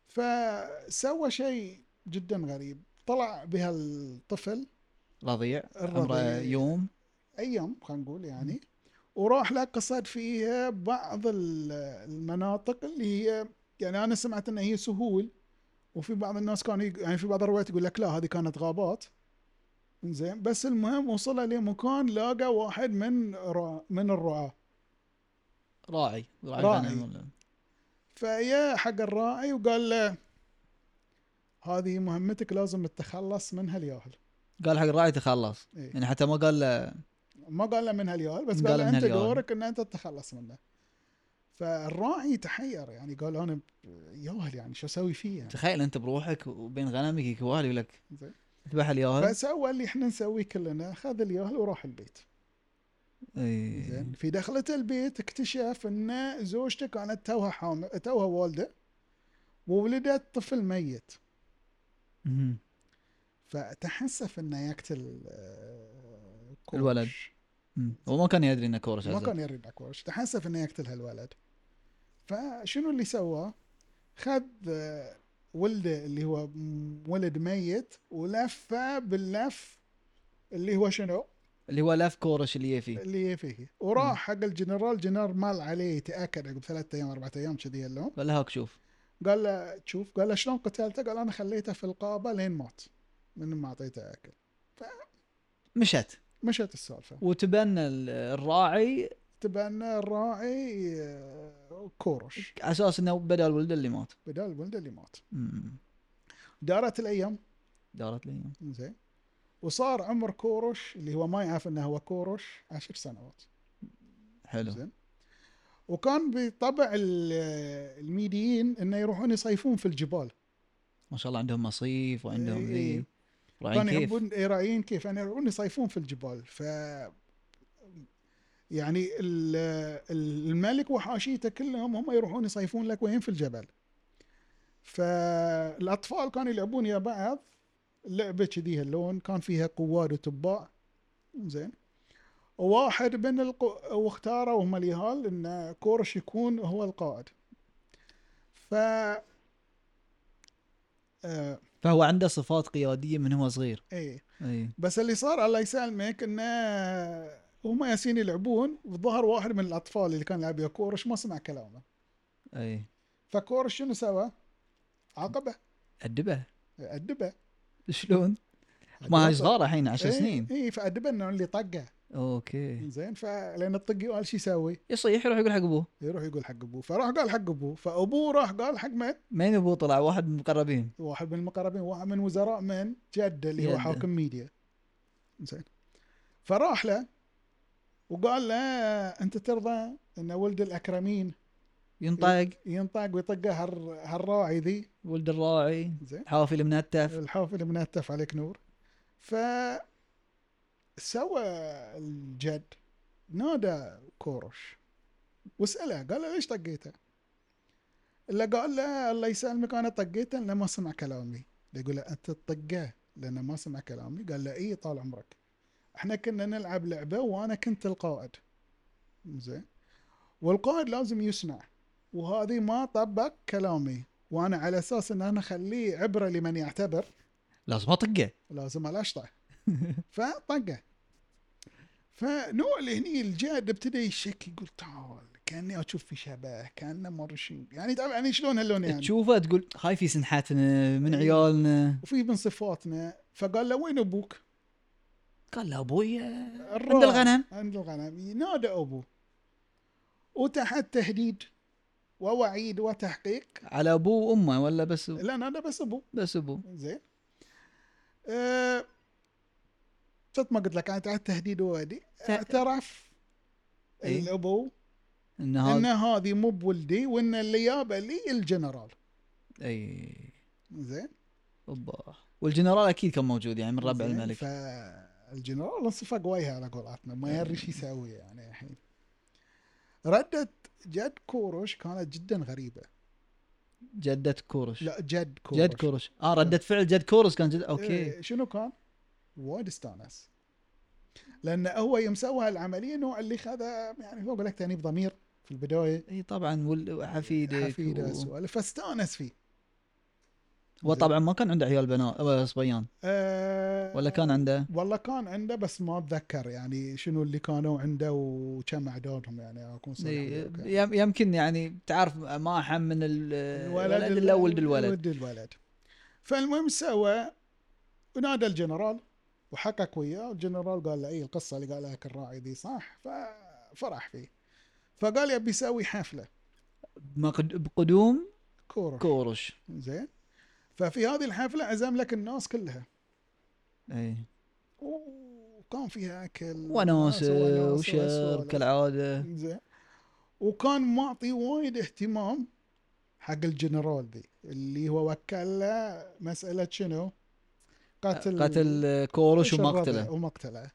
Speaker 2: فسوى شيء جدا غريب طلع بهالطفل
Speaker 1: رضيع عمره
Speaker 2: الرضيع.
Speaker 1: يوم
Speaker 2: ايام خلينا نقول يعني وراح له قصد فيها بعض ال- المناطق اللي هي يعني انا سمعت ان هي سهول وفي بعض الناس كانوا يق- يعني في بعض الروايات يقول لك لا هذه كانت غابات زين بس المهم وصل لمكان لاقى واحد من را من الرعاة
Speaker 1: راعي راعي,
Speaker 2: راعي.
Speaker 1: غنم.
Speaker 2: فيا حق الراعي وقال له هذه مهمتك لازم تتخلص من هالياهل
Speaker 1: قال حق الراعي تخلص
Speaker 2: إيه.
Speaker 1: يعني حتى ما قال له
Speaker 2: ما قال له من هاليال بس
Speaker 1: قال
Speaker 2: قال له
Speaker 1: من
Speaker 2: انت
Speaker 1: هاليال.
Speaker 2: دورك ان انت تتخلص منه فالراعي تحير يعني قال انا ياهل يعني شو اسوي فيه يعني
Speaker 1: تخيل انت بروحك وبين غنمك يكوال يقول لك
Speaker 2: زين.
Speaker 1: ذبح الياهل
Speaker 2: فسوى اللي احنا نسويه كلنا اخذ الياهل وراح البيت
Speaker 1: إيه.
Speaker 2: زين في دخلته البيت اكتشف ان زوجته كانت توها حامل توها والده وولدت طفل ميت
Speaker 1: مهم.
Speaker 2: فتحسف انه يقتل آه، كورش.
Speaker 1: الولد. مم. وما كان يدري انه كورش
Speaker 2: ما
Speaker 1: عزب.
Speaker 2: كان يريد اكواش تحسف انه يقتل هالولد فشنو اللي سواه؟ خذ آه، ولده اللي هو م- ولد ميت ولفه باللف اللي هو شنو؟
Speaker 1: اللي هو لاف كورش اللي يفي
Speaker 2: اللي هي فيه وراح حق الجنرال جنرال مال عليه يتاكد عقب ثلاثة ايام اربعة ايام كذي اللوم
Speaker 1: قال له هاك شوف
Speaker 2: قال له تشوف قال له شلون قتلته؟ قال انا خليته في القابه لين مات من ما اعطيته اكل
Speaker 1: مشت
Speaker 2: مشت السالفه
Speaker 1: وتبنى ال- الراعي
Speaker 2: تبنى الراعي آه، كورش
Speaker 1: على اساس انه بدل ولده اللي مات
Speaker 2: بدال الولد اللي مات
Speaker 1: مم.
Speaker 2: دارت الايام
Speaker 1: دارت لي
Speaker 2: زين وصار عمر كورش اللي هو ما يعرف انه هو كورش عشر سنوات
Speaker 1: حلو
Speaker 2: زين وكان بطبع ال- الميديين انه يروحون يصيفون في الجبال
Speaker 1: ما شاء الله عندهم مصيف وعندهم
Speaker 2: إيه، إيه.
Speaker 1: ذي راعين
Speaker 2: كانوا
Speaker 1: كيف
Speaker 2: يحبون رايين كيف يعني يروحون يصيفون في الجبال ف يعني ال- الملك وحاشيته كلهم هم يروحون يصيفون لك وين في الجبل فالاطفال كانوا يلعبون يا بعض لعبه كذي هاللون كان فيها قواد وتباع زين واحد من الق... واختاروا هم اليهال ان كورش يكون هو القائد ف آه...
Speaker 1: فهو عنده صفات قياديه من هو صغير
Speaker 2: ايه
Speaker 1: اي
Speaker 2: بس اللي صار الله يسلمك انه هم ياسين يلعبون وظهر واحد من الاطفال اللي كان يلعب يا كورش ما سمع كلامه
Speaker 1: اي
Speaker 2: فكورش شنو سوى؟ عاقبه
Speaker 1: ادبه
Speaker 2: ادبه
Speaker 1: شلون؟ ما هي
Speaker 2: عاقبه.
Speaker 1: صغار الحين 10
Speaker 2: إيه،
Speaker 1: سنين إيه.
Speaker 2: اي فادبه انه اللي طقه
Speaker 1: اوكي
Speaker 2: زين فلان الطق قال شو يسوي؟
Speaker 1: يصيح يروح يقول حق ابوه
Speaker 2: يروح يقول حق ابوه فراح قال حق ابوه فابوه راح قال حق من؟
Speaker 1: مين ابوه طلع واحد من المقربين
Speaker 2: واحد من المقربين واحد من وزراء من جده اللي هو
Speaker 1: جدة.
Speaker 2: حاكم ميديا زين فراح له وقال له انت ترضى ان ولد الاكرمين
Speaker 1: ينطق
Speaker 2: ينطق ويطقه هال- هالراعي ذي
Speaker 1: ولد الراعي
Speaker 2: زين
Speaker 1: حوافل منتف
Speaker 2: الحافل منتف عليك نور ف سوى الجد نادى كورش واساله قال له ليش طقيته؟ الا قال له الله يسلمك انا طقيته لانه ما سمع كلامي يقول له انت تطقه لانه ما سمع كلامي قال له اي طال عمرك احنا كنا نلعب لعبه وانا كنت القائد زين والقائد لازم يسمع وهذه ما طبق كلامي وانا على اساس ان انا اخليه عبره لمن يعتبر
Speaker 1: لازم اطقه
Speaker 2: لازم الاشطه فطقه فنوع اللي هني الجاد ابتدى يشك يقول تعال كاني اشوف في شبه كانه مر شيء يعني تعرف يعني شلون هاللون يعني إيه.
Speaker 1: تشوفه تقول هاي في سنحتنا من عيالنا
Speaker 2: وفي من صفاتنا فقال له وين ابوك؟
Speaker 1: قال له ابوي
Speaker 2: الراعي.
Speaker 1: عند الغنم
Speaker 2: عند الغنم ينادى ابوه وتحت تهديد ووعيد وتحقيق
Speaker 1: على ابوه وامه ولا بس
Speaker 2: لا نادى بس ابوه
Speaker 1: بس ابوه
Speaker 2: زين أه... صدق ما قلت لك انا تحت تهديد أه، ووعيد اعترف
Speaker 1: إيه.
Speaker 2: الابو
Speaker 1: ان
Speaker 2: ان
Speaker 1: هذا
Speaker 2: هذه مو بولدي وان اللي جابه لي الجنرال
Speaker 1: اي
Speaker 2: زين
Speaker 1: اوبا والجنرال اكيد كان موجود يعني من ربع
Speaker 2: زين؟
Speaker 1: الملك
Speaker 2: فالجنرال انصفق وجهه على قولتنا ما يدري ايش يسوي يعني الحين ردة جد كورش كانت جدا غريبة
Speaker 1: جدة كورش
Speaker 2: لا جد كورش
Speaker 1: جد كورش اه ردة فعل جد كورش كان جد اوكي
Speaker 2: إيه، شنو كان؟ وايد استانس لأن هو يوم سوى العملية نوع اللي خذها يعني فوق لك تأنيب ضمير في البداية
Speaker 1: اي طبعا وال- حفيدك
Speaker 2: حفيده
Speaker 1: و-
Speaker 2: سؤال فاستانس فيه
Speaker 1: هو طبعا ما كان عنده عيال بنات أو صبيان
Speaker 2: أه
Speaker 1: ولا كان عنده
Speaker 2: والله كان عنده بس ما اتذكر يعني شنو اللي كانوا عنده وكم اعدادهم يعني اكون صريح
Speaker 1: إي،
Speaker 2: وياك.
Speaker 1: يم- يمكن يعني تعرف ما حمل ال- الولد
Speaker 2: الولد
Speaker 1: الا ولد الولد
Speaker 2: ولد الولد فالمهم سوى ونادى الجنرال وحقق وياه والجنرال قال له اي القصه اللي قالها لك الراعي ذي صح ففرح فيه فقال يبي يسوي حفله
Speaker 1: مقد- بقدوم
Speaker 2: كوره
Speaker 1: كورش
Speaker 2: زين ففي هذه الحفله عزم لك الناس كلها
Speaker 1: اي
Speaker 2: وكان فيها اكل
Speaker 1: وناس
Speaker 2: وناسة
Speaker 1: وشرب
Speaker 2: وسوالف.
Speaker 1: كالعاده
Speaker 2: زين وكان معطي وايد اهتمام حق الجنرال ذي اللي هو وكله مساله شنو؟ قتل
Speaker 1: قتل كورش ومقتله
Speaker 2: ومقتله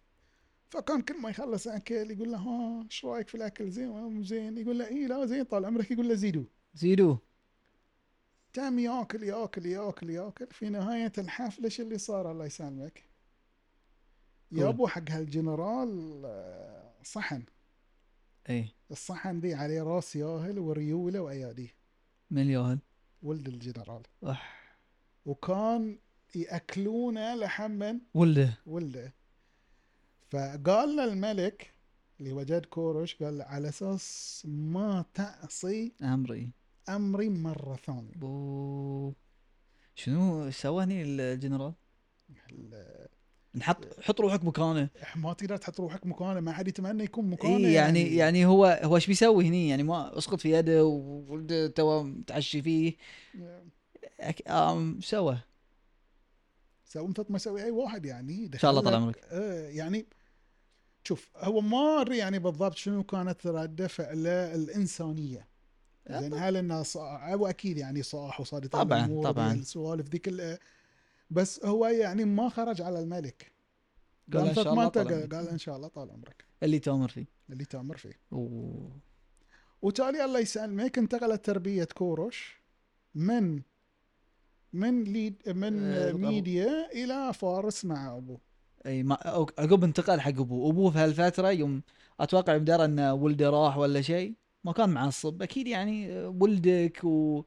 Speaker 2: فكان كل ما يخلص اكل يقول له ها ايش رايك في الاكل زين ولا مو زين؟ يقول له اي لا زين طال عمرك يقول له زيدوا
Speaker 1: زيدوه
Speaker 2: تم ياكل ياكل ياكل ياكل في نهايه الحفله شو اللي صار الله يسلمك؟ يابو حق هالجنرال آه، صحن
Speaker 1: اي
Speaker 2: الصحن دي عليه راس ياهل وريوله واياديه
Speaker 1: من الياهل
Speaker 2: ولد الجنرال
Speaker 1: أح،
Speaker 2: وكان ياكلونه لحما
Speaker 1: ولده
Speaker 2: ولده فقال له الملك اللي هو جد كورش قال له على اساس ما تعصي
Speaker 1: امري
Speaker 2: امري مره ثانيه
Speaker 1: بو شنو سوى هني الجنرال؟ نحط حط روحك مكانه
Speaker 2: ما تقدر تحط روحك مكانه ما حد يتمنى يكون مكانه
Speaker 1: اي يعني يعني هو هو ايش بيسوي هني يعني ما اسقط في يده وولده تو متعشي فيه أك... آم سوى
Speaker 2: سوي مثل ما يسوي اي واحد يعني
Speaker 1: ان شاء الله طال
Speaker 2: دخلك-
Speaker 1: عمرك
Speaker 2: آه، يعني شوف هو ما ادري يعني بالضبط شنو كانت رده فعله الانسانيه
Speaker 1: آه،
Speaker 2: زين هل انه صا- هو اكيد يعني صاح وصادت على
Speaker 1: طبعاً،
Speaker 2: الأمور
Speaker 1: طبعاً.
Speaker 2: دي السوالف ذي كلها بس هو يعني ما خرج على الملك
Speaker 1: قال ان
Speaker 2: قال
Speaker 1: شاء
Speaker 2: ما
Speaker 1: الله
Speaker 2: انت
Speaker 1: طال
Speaker 2: قال
Speaker 1: عمرك
Speaker 2: قال ان شاء الله طال عمرك
Speaker 1: اللي تامر فيه
Speaker 2: اللي تامر فيه
Speaker 1: أوه.
Speaker 2: وتالي الله يسلمك انتقلت تربيه كورش من من ليد من
Speaker 1: آه،
Speaker 2: ميديا الى فارس مع ابوه
Speaker 1: اي ما أو- عقب انتقل حق ابوه ابوه في هالفتره يوم اتوقع يوم درى ان ولده راح ولا شيء ما كان معصب اكيد يعني آه، ولدك و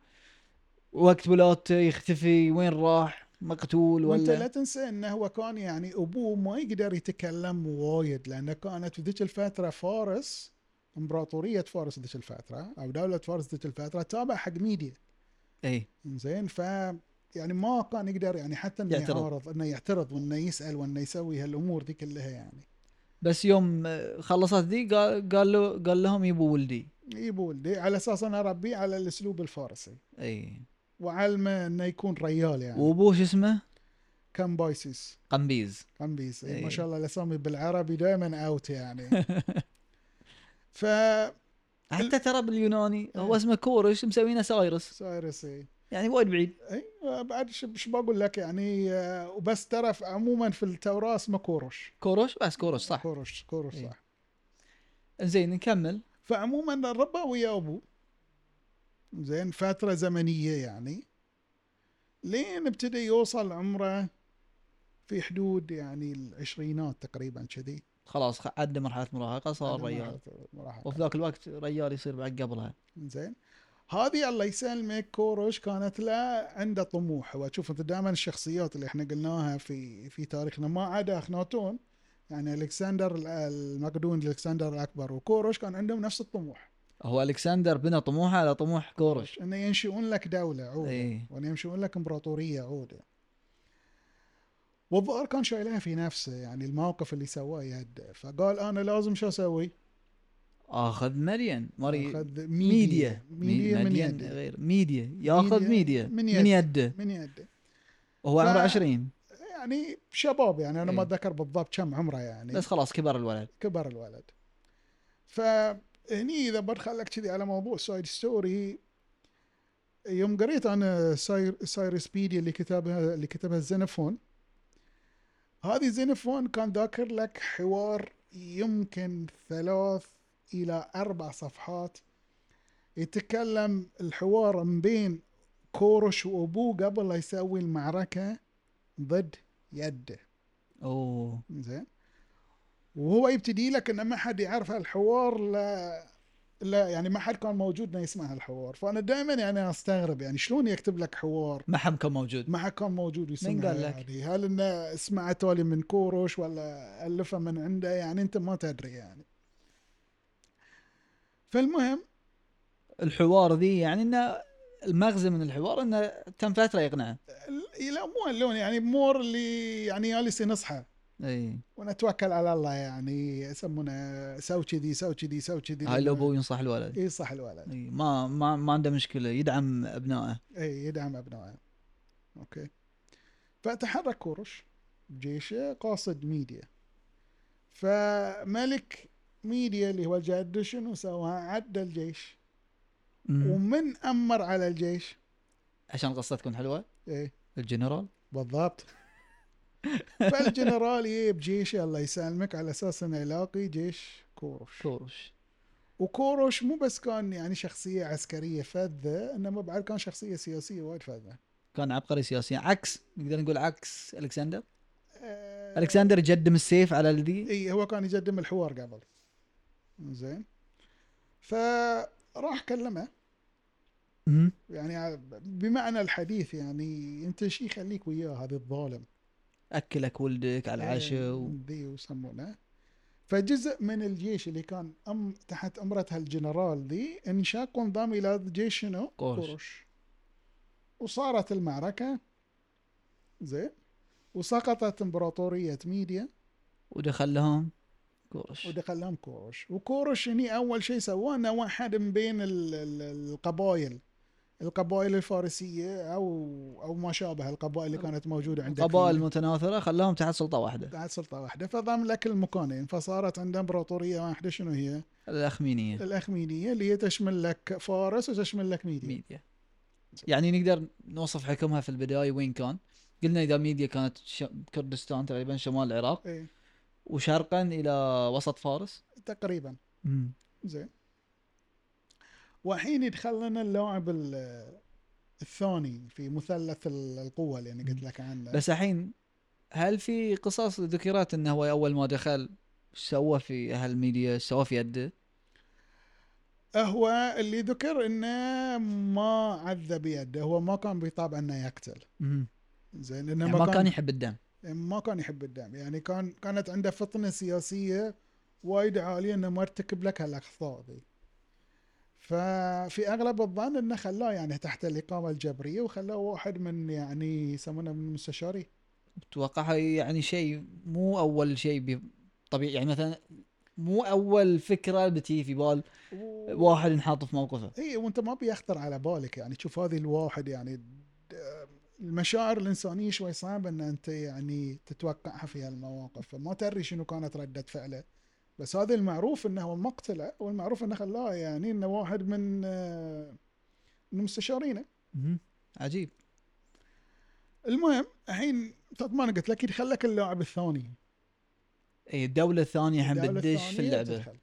Speaker 1: وقت ولادته يختفي وين راح مقتول
Speaker 2: وانت لا
Speaker 1: ولا
Speaker 2: تنسى انه هو كان يعني ابوه ما يقدر يتكلم وايد لانه كانت في ذيك الفتره فارس امبراطوريه فارس ذيك الفتره او دوله فارس ذيك الفتره تابع حق ميديا
Speaker 1: اي
Speaker 2: زين ف يعني ما كان يقدر يعني حتى انه
Speaker 1: يعترض.
Speaker 2: يعارض انه يعترض وانه يسال وانه يسوي هالامور دي كلها يعني
Speaker 1: بس يوم آه، خلصت ذي قال قال له قال لهم يبوا ولدي
Speaker 2: يبو ولدي على اساس انا اربيه على الاسلوب الفارسي
Speaker 1: اي
Speaker 2: وعلمه انه يكون ريال يعني و...
Speaker 1: وابوه شو اسمه
Speaker 2: كم بايسيس
Speaker 1: قنبيز
Speaker 2: قنبيس أي.
Speaker 1: إيه.
Speaker 2: ما شاء الله الاسامي بالعربي دائما اوت يعني ف
Speaker 1: حتى ترى باليوناني هو اسمه كورش مسوينه سايرس
Speaker 2: سايرسي
Speaker 1: يعني وايد بعيد
Speaker 2: اي "إيه، بعد ش- شو بقول لك يعني آه، وبس ترى ف- عموما في التوراه اسمه كورش
Speaker 1: كورش بس كورش صح
Speaker 2: كورش كورش
Speaker 1: إيه.
Speaker 2: صح
Speaker 1: زين نكمل
Speaker 2: فعموما ربى ويا ابوه زين فتره زمنيه يعني لين ابتدى يوصل عمره في حدود يعني العشرينات تقريبا كذي
Speaker 1: خلاص خ- عدى مرحله مراهقه صار ريال وفي
Speaker 2: ريال
Speaker 1: ذاك الوقت ريال يصير بعد قبلها
Speaker 2: زين هذه الله يسلمك كوروش كانت له عنده طموح هو شوف انت دائما الشخصيات اللي احنا قلناها في في تاريخنا ما عدا اخناتون يعني الكسندر ال- المقدون الكسندر الاكبر وكوروش كان عندهم نفس الطموح
Speaker 1: هو الكسندر بنى طموحه على طموح كورش إيه.
Speaker 2: انه ينشئون لك دوله عوده
Speaker 1: اي
Speaker 2: وان يمشون لك امبراطوريه عوده والظاهر كان شايلها في نفسه يعني الموقف اللي سواه يهده فقال انا لازم شو اسوي؟
Speaker 1: اخذ مليون مري
Speaker 2: اخذ
Speaker 1: ميديا
Speaker 2: ميديا من
Speaker 1: مليون
Speaker 2: يده
Speaker 1: غير ميديا ياخذ ميديا
Speaker 2: ميديا من
Speaker 1: من
Speaker 2: يده.
Speaker 1: يده
Speaker 2: من يده
Speaker 1: وهو
Speaker 2: ف-
Speaker 1: عمره 20
Speaker 2: يعني شباب يعني انا ما
Speaker 1: إيه.
Speaker 2: اتذكر بالضبط كم عمره يعني
Speaker 1: بس خلاص كبر الولد
Speaker 2: كبر الولد فهني اذا بدخلك كذي على موضوع سايد ستوري يوم قريت انا ساير سايرس بيديا اللي كتبها اللي كتبها زينفون هذه زينفون كان ذاكر لك حوار يمكن ثلاث الى اربع صفحات يتكلم الحوار من بين كورش وابوه قبل لا يسوي المعركه ضد يده
Speaker 1: اوه
Speaker 2: زين وهو يبتدي لك ان ما حد يعرف هالحوار لا لا يعني ما حد كان موجود انه يسمع هالحوار فانا دائما يعني استغرب يعني شلون يكتب لك حوار
Speaker 1: ما حم كان موجود
Speaker 2: ما حد كان موجود يسمع
Speaker 1: من قال لك؟
Speaker 2: يعني هل انه سمع تولي من كوروش ولا الفه من عنده يعني انت ما تدري يعني فالمهم
Speaker 1: الحوار ذي يعني انه المغزى من الحوار انه تم فتره يقنعه
Speaker 2: ال- لا مو اللون يعني مور اللي يعني جالس ينصحه
Speaker 1: اي
Speaker 2: ونتوكل على الله يعني يسمونه سوي كذي سوي كذي سوي كذي
Speaker 1: هاي لو ابوه ينصح الولد
Speaker 2: اي صح الولد
Speaker 1: اي ما ما ما عنده مشكله يدعم ابنائه
Speaker 2: اي إيه، يدعم ابنائه اوكي فتحرك كورش بجيشه قاصد ميديا فملك ميديا اللي هو جاد شنو سوى عدى الجيش
Speaker 1: مم.
Speaker 2: ومن امر على الجيش
Speaker 1: عشان قصة تكون حلوه
Speaker 2: ايه
Speaker 1: الجنرال
Speaker 2: بالضبط فالجنرال يجيب جيشه الله يسلمك على اساس انه يلاقي جيش كورش
Speaker 1: كورش
Speaker 2: وكوروش مو بس كان يعني شخصيه عسكريه فذه انما بعد كان شخصيه سياسيه وايد فذه
Speaker 1: كان عبقري سياسيا عكس نقدر نقول عكس الكسندر
Speaker 2: إيه. آه،
Speaker 1: الكسندر يقدم السيف على الذي
Speaker 2: اي هو كان يقدم الحوار قبل زين فراح كلمه
Speaker 1: مم.
Speaker 2: يعني بمعنى الحديث يعني انت شي يخليك وياه هذا الظالم
Speaker 1: اكلك ولدك على
Speaker 2: إيه.
Speaker 1: العشاء و...
Speaker 2: ذي ويسمونه فجزء من الجيش اللي كان أم تحت امره هالجنرال ذي انشق وانضم الى جيش شنو؟
Speaker 1: قرش.
Speaker 2: وصارت المعركه زين وسقطت امبراطوريه ميديا
Speaker 1: ودخل لهم كورش
Speaker 2: ودخل لهم كورش وكورش هني اول شيء سواه انه واحد من بين ال- ال- القبائل القبائل الفارسيه او او ما شابه القبائل اللي كانت موجوده عندك
Speaker 1: القبائل
Speaker 2: في-
Speaker 1: المتناثره خلاهم تحت سلطه واحده
Speaker 2: بعد سلطه واحده فضم لك المكانين فصارت عنده امبراطوريه واحده شنو هي؟ طيب.
Speaker 1: الاخمينيه
Speaker 2: الاخمينيه اللي هي تشمل لك فارس وتشمل لك ميديا
Speaker 1: ميديا يعني نقدر نوصف حكمها في البدايه وين كان قلنا اذا ميديا كانت ش... كردستان تقريبا شمال العراق
Speaker 2: ايه
Speaker 1: وشرقا الى وسط فارس
Speaker 2: تقريبا زين والحين يدخل لنا اللاعب ال- الثاني في مثلث ال- القوه اللي انا قلت لك عنه
Speaker 1: بس الحين هل في قصص ذكرت انه هو اول ما دخل ايش سوى في اهل ميديا ايش سوى في يده
Speaker 2: هو اللي ذكر انه ما عذب يده هو ما كان بيطاب انه يقتل زين انه
Speaker 1: يعني ما كان يحب الدم
Speaker 2: ما كان يحب الدم يعني كان كانت عنده فطنه سياسيه وايد عاليه انه ما ارتكب لك هالاخطاء ذي ففي اغلب الظن انه خلاه يعني تحت الاقامه الجبريه وخلاه واحد من يعني يسمونه من المستشارين
Speaker 1: اتوقع هاي يعني شيء مو اول شيء بي- طبيعي يعني مثلا مو اول فكره بتي في بال
Speaker 2: و...
Speaker 1: واحد انحط في موقفه
Speaker 2: اي إيه، وانت ما بيخطر على بالك يعني تشوف هذه الواحد يعني د- المشاعر الانسانيه شوي صعبه ان انت يعني تتوقعها في هالمواقف فما تدري شنو كانت رده فعله بس هذا المعروف انه هو مقتله والمعروف انه خلاه يعني انه واحد من آه، من مستشارينه
Speaker 1: عجيب
Speaker 2: المهم الحين تطمن قلت لك يدخل لك اللاعب الثاني
Speaker 1: اي الدوله الثانيه الحين
Speaker 2: الدولة
Speaker 1: بتدش
Speaker 2: الثانية
Speaker 1: في اللعبه
Speaker 2: تدخل.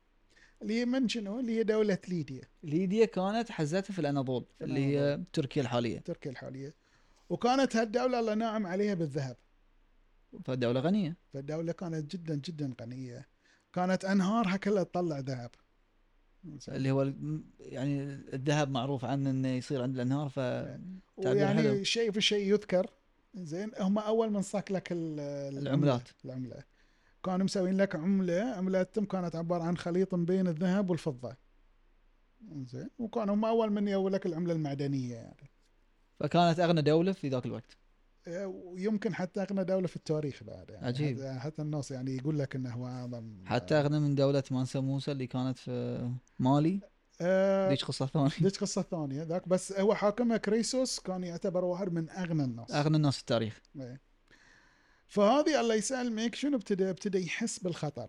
Speaker 2: اليمن شنو؟ اللي هي دولة ليديا
Speaker 1: ليديا كانت حزتها في الاناضول اللي هي تركيا الحاليه
Speaker 2: تركيا الحالية وكانت هالدولة الله نعم عليها بالذهب
Speaker 1: فدوله غنيه
Speaker 2: فالدولة كانت جدا جدا غنية كانت أنهارها كلها تطلع ذهب
Speaker 1: اللي هو ال- يعني الذهب معروف عنه انه يصير عند الانهار ف تعبير حلو.
Speaker 2: ويعني شيء في شيء يذكر زين هم اول من صك لك ال- العملة-
Speaker 1: العملات.
Speaker 2: العمله كانوا مسوين لك عمله عملتهم كانت عباره عن خليط بين الذهب والفضه زين وكانوا هم اول من يقول لك العمله المعدنيه يعني
Speaker 1: فكانت اغنى دوله في ذاك الوقت
Speaker 2: أه، ويمكن حتى اغنى دوله في التاريخ بعد يعني
Speaker 1: عجيب.
Speaker 2: حتى- حتى الناس يعني يقول لك انه هو اعظم
Speaker 1: حتى اغنى من دوله مانسا موسى اللي كانت في مالي
Speaker 2: أه،
Speaker 1: ليش قصه ثانيه
Speaker 2: ذيك قصه ثانيه ذاك بس هو حاكمها كريسوس كان يعتبر واحد من اغنى الناس
Speaker 1: اغنى الناس في التاريخ
Speaker 2: إيه. فهذه الله يسلمك شنو ابتدى ابتدى يحس بالخطر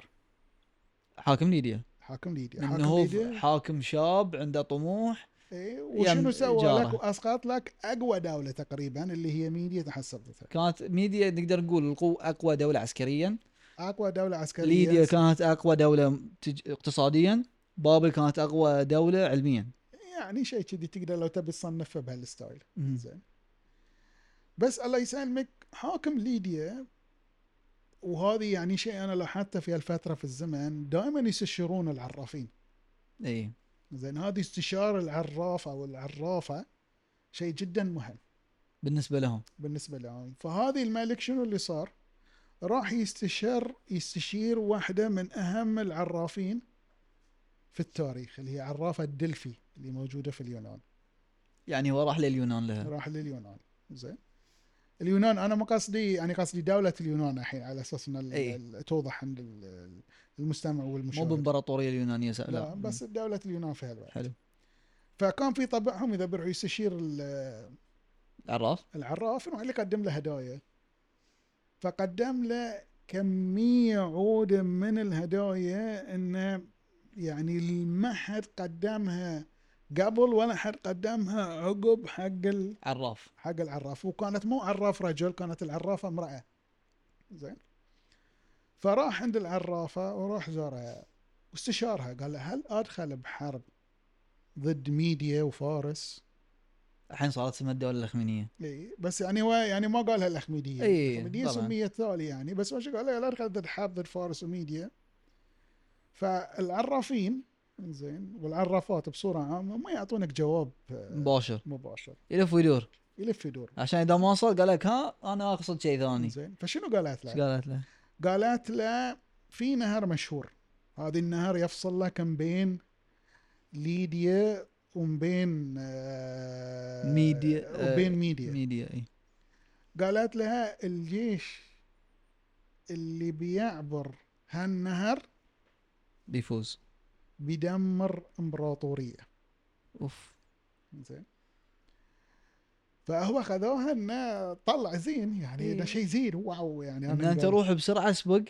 Speaker 2: حاكم
Speaker 1: حاكم ليديا
Speaker 2: حاكم ليديا
Speaker 1: انه
Speaker 2: حاكم
Speaker 1: هو
Speaker 2: ليديا
Speaker 1: حاكم شاب عنده طموح
Speaker 2: إيه،
Speaker 1: يم-
Speaker 2: وشنو سوى
Speaker 1: يعني جاره.
Speaker 2: لك واسقط لك اقوى دوله تقريبا اللي هي ميديا تحسبتها
Speaker 1: كانت ميديا نقدر نقول القو- اقوى دوله عسكريا
Speaker 2: اقوى دوله عسكريه
Speaker 1: ليديا كانت اقوى دوله تج- اقتصاديا بابل كانت اقوى دوله علميا
Speaker 2: يعني شيء كذي تقدر لو تبي تصنفها بهالستايل
Speaker 1: مم.
Speaker 2: زين بس الله يسلمك حاكم ليديا وهذه يعني شيء انا لاحظته في هالفتره في الزمن دائما يستشيرون العرافين
Speaker 1: اي
Speaker 2: زين هذه استشارة العراف أو العرافة شيء جدا مهم
Speaker 1: بالنسبه لهم
Speaker 2: بالنسبة لهم فهذه الملك شنو اللي صار راح يستشير يستشير واحدة من أهم العرافين في التاريخ اللي هي عرافة دلفي اللي موجودة في اليونان
Speaker 1: يعني هو راح لليونان لها
Speaker 2: راح لليونان زين اليونان أنا ما قصدي يعني قصدي دولة اليونان الحين على أساس إن ال-
Speaker 1: إي.
Speaker 2: ال- توضح عند ال- المستمع
Speaker 1: مو
Speaker 2: والمشاهد
Speaker 1: بالامبراطوريه اليونانيه س-
Speaker 2: لا
Speaker 1: لا
Speaker 2: بس دولة اليونان في هالوقت
Speaker 1: حلو
Speaker 2: فكان في طبعهم إذا بيروحوا يستشير ال-
Speaker 1: عراف
Speaker 2: العراف يروح اللي قدم له هدايا فقدم له كمية عودة من الهدايا انه يعني ما حد قدمها قبل ولا حد قدمها عقب حق ال...
Speaker 1: عراف
Speaker 2: حق العراف وكانت مو عراف رجل كانت العرافة امرأة زين فراح عند العرافة وراح زارها واستشارها قال لها هل ادخل بحرب ضد ميديا وفارس؟
Speaker 1: الحين صارت اسمها الدوله الاخمينيه
Speaker 2: اي بس يعني هو يعني ما قالها الاخميديه
Speaker 1: إي،
Speaker 2: الاخميديه
Speaker 1: إيه، طبعاً.
Speaker 2: سميت ثاني يعني بس ما شو قال لا ارخذ الحرب ضد فارس وميديا فالعرافين زين والعرافات بصوره عامه ما يعطونك جواب آه،
Speaker 1: مباشر
Speaker 2: مباشر
Speaker 1: يلف ويدور
Speaker 2: يلف يدور
Speaker 1: عشان اذا ما وصل قال لك ها انا اقصد شيء ثاني
Speaker 2: زين فشنو قالت
Speaker 1: ايش
Speaker 2: له؟
Speaker 1: قالت له؟
Speaker 2: قالت له في نهر مشهور هذا النهر يفصل لك من بين ليديا ومن بين آه،
Speaker 1: ميديا، آه،
Speaker 2: وبين ميديا
Speaker 1: ميديا إيه. اي
Speaker 2: قالت لها الجيش اللي بيعبر هالنهر
Speaker 1: بيفوز
Speaker 2: بيدمر امبراطوريه
Speaker 1: اوف
Speaker 2: زين فهو خذوها انه طلع زين يعني
Speaker 1: إيه.
Speaker 2: ده شيء زين واو يعني
Speaker 1: ان انت
Speaker 2: قال-
Speaker 1: روح بسرعه اسبق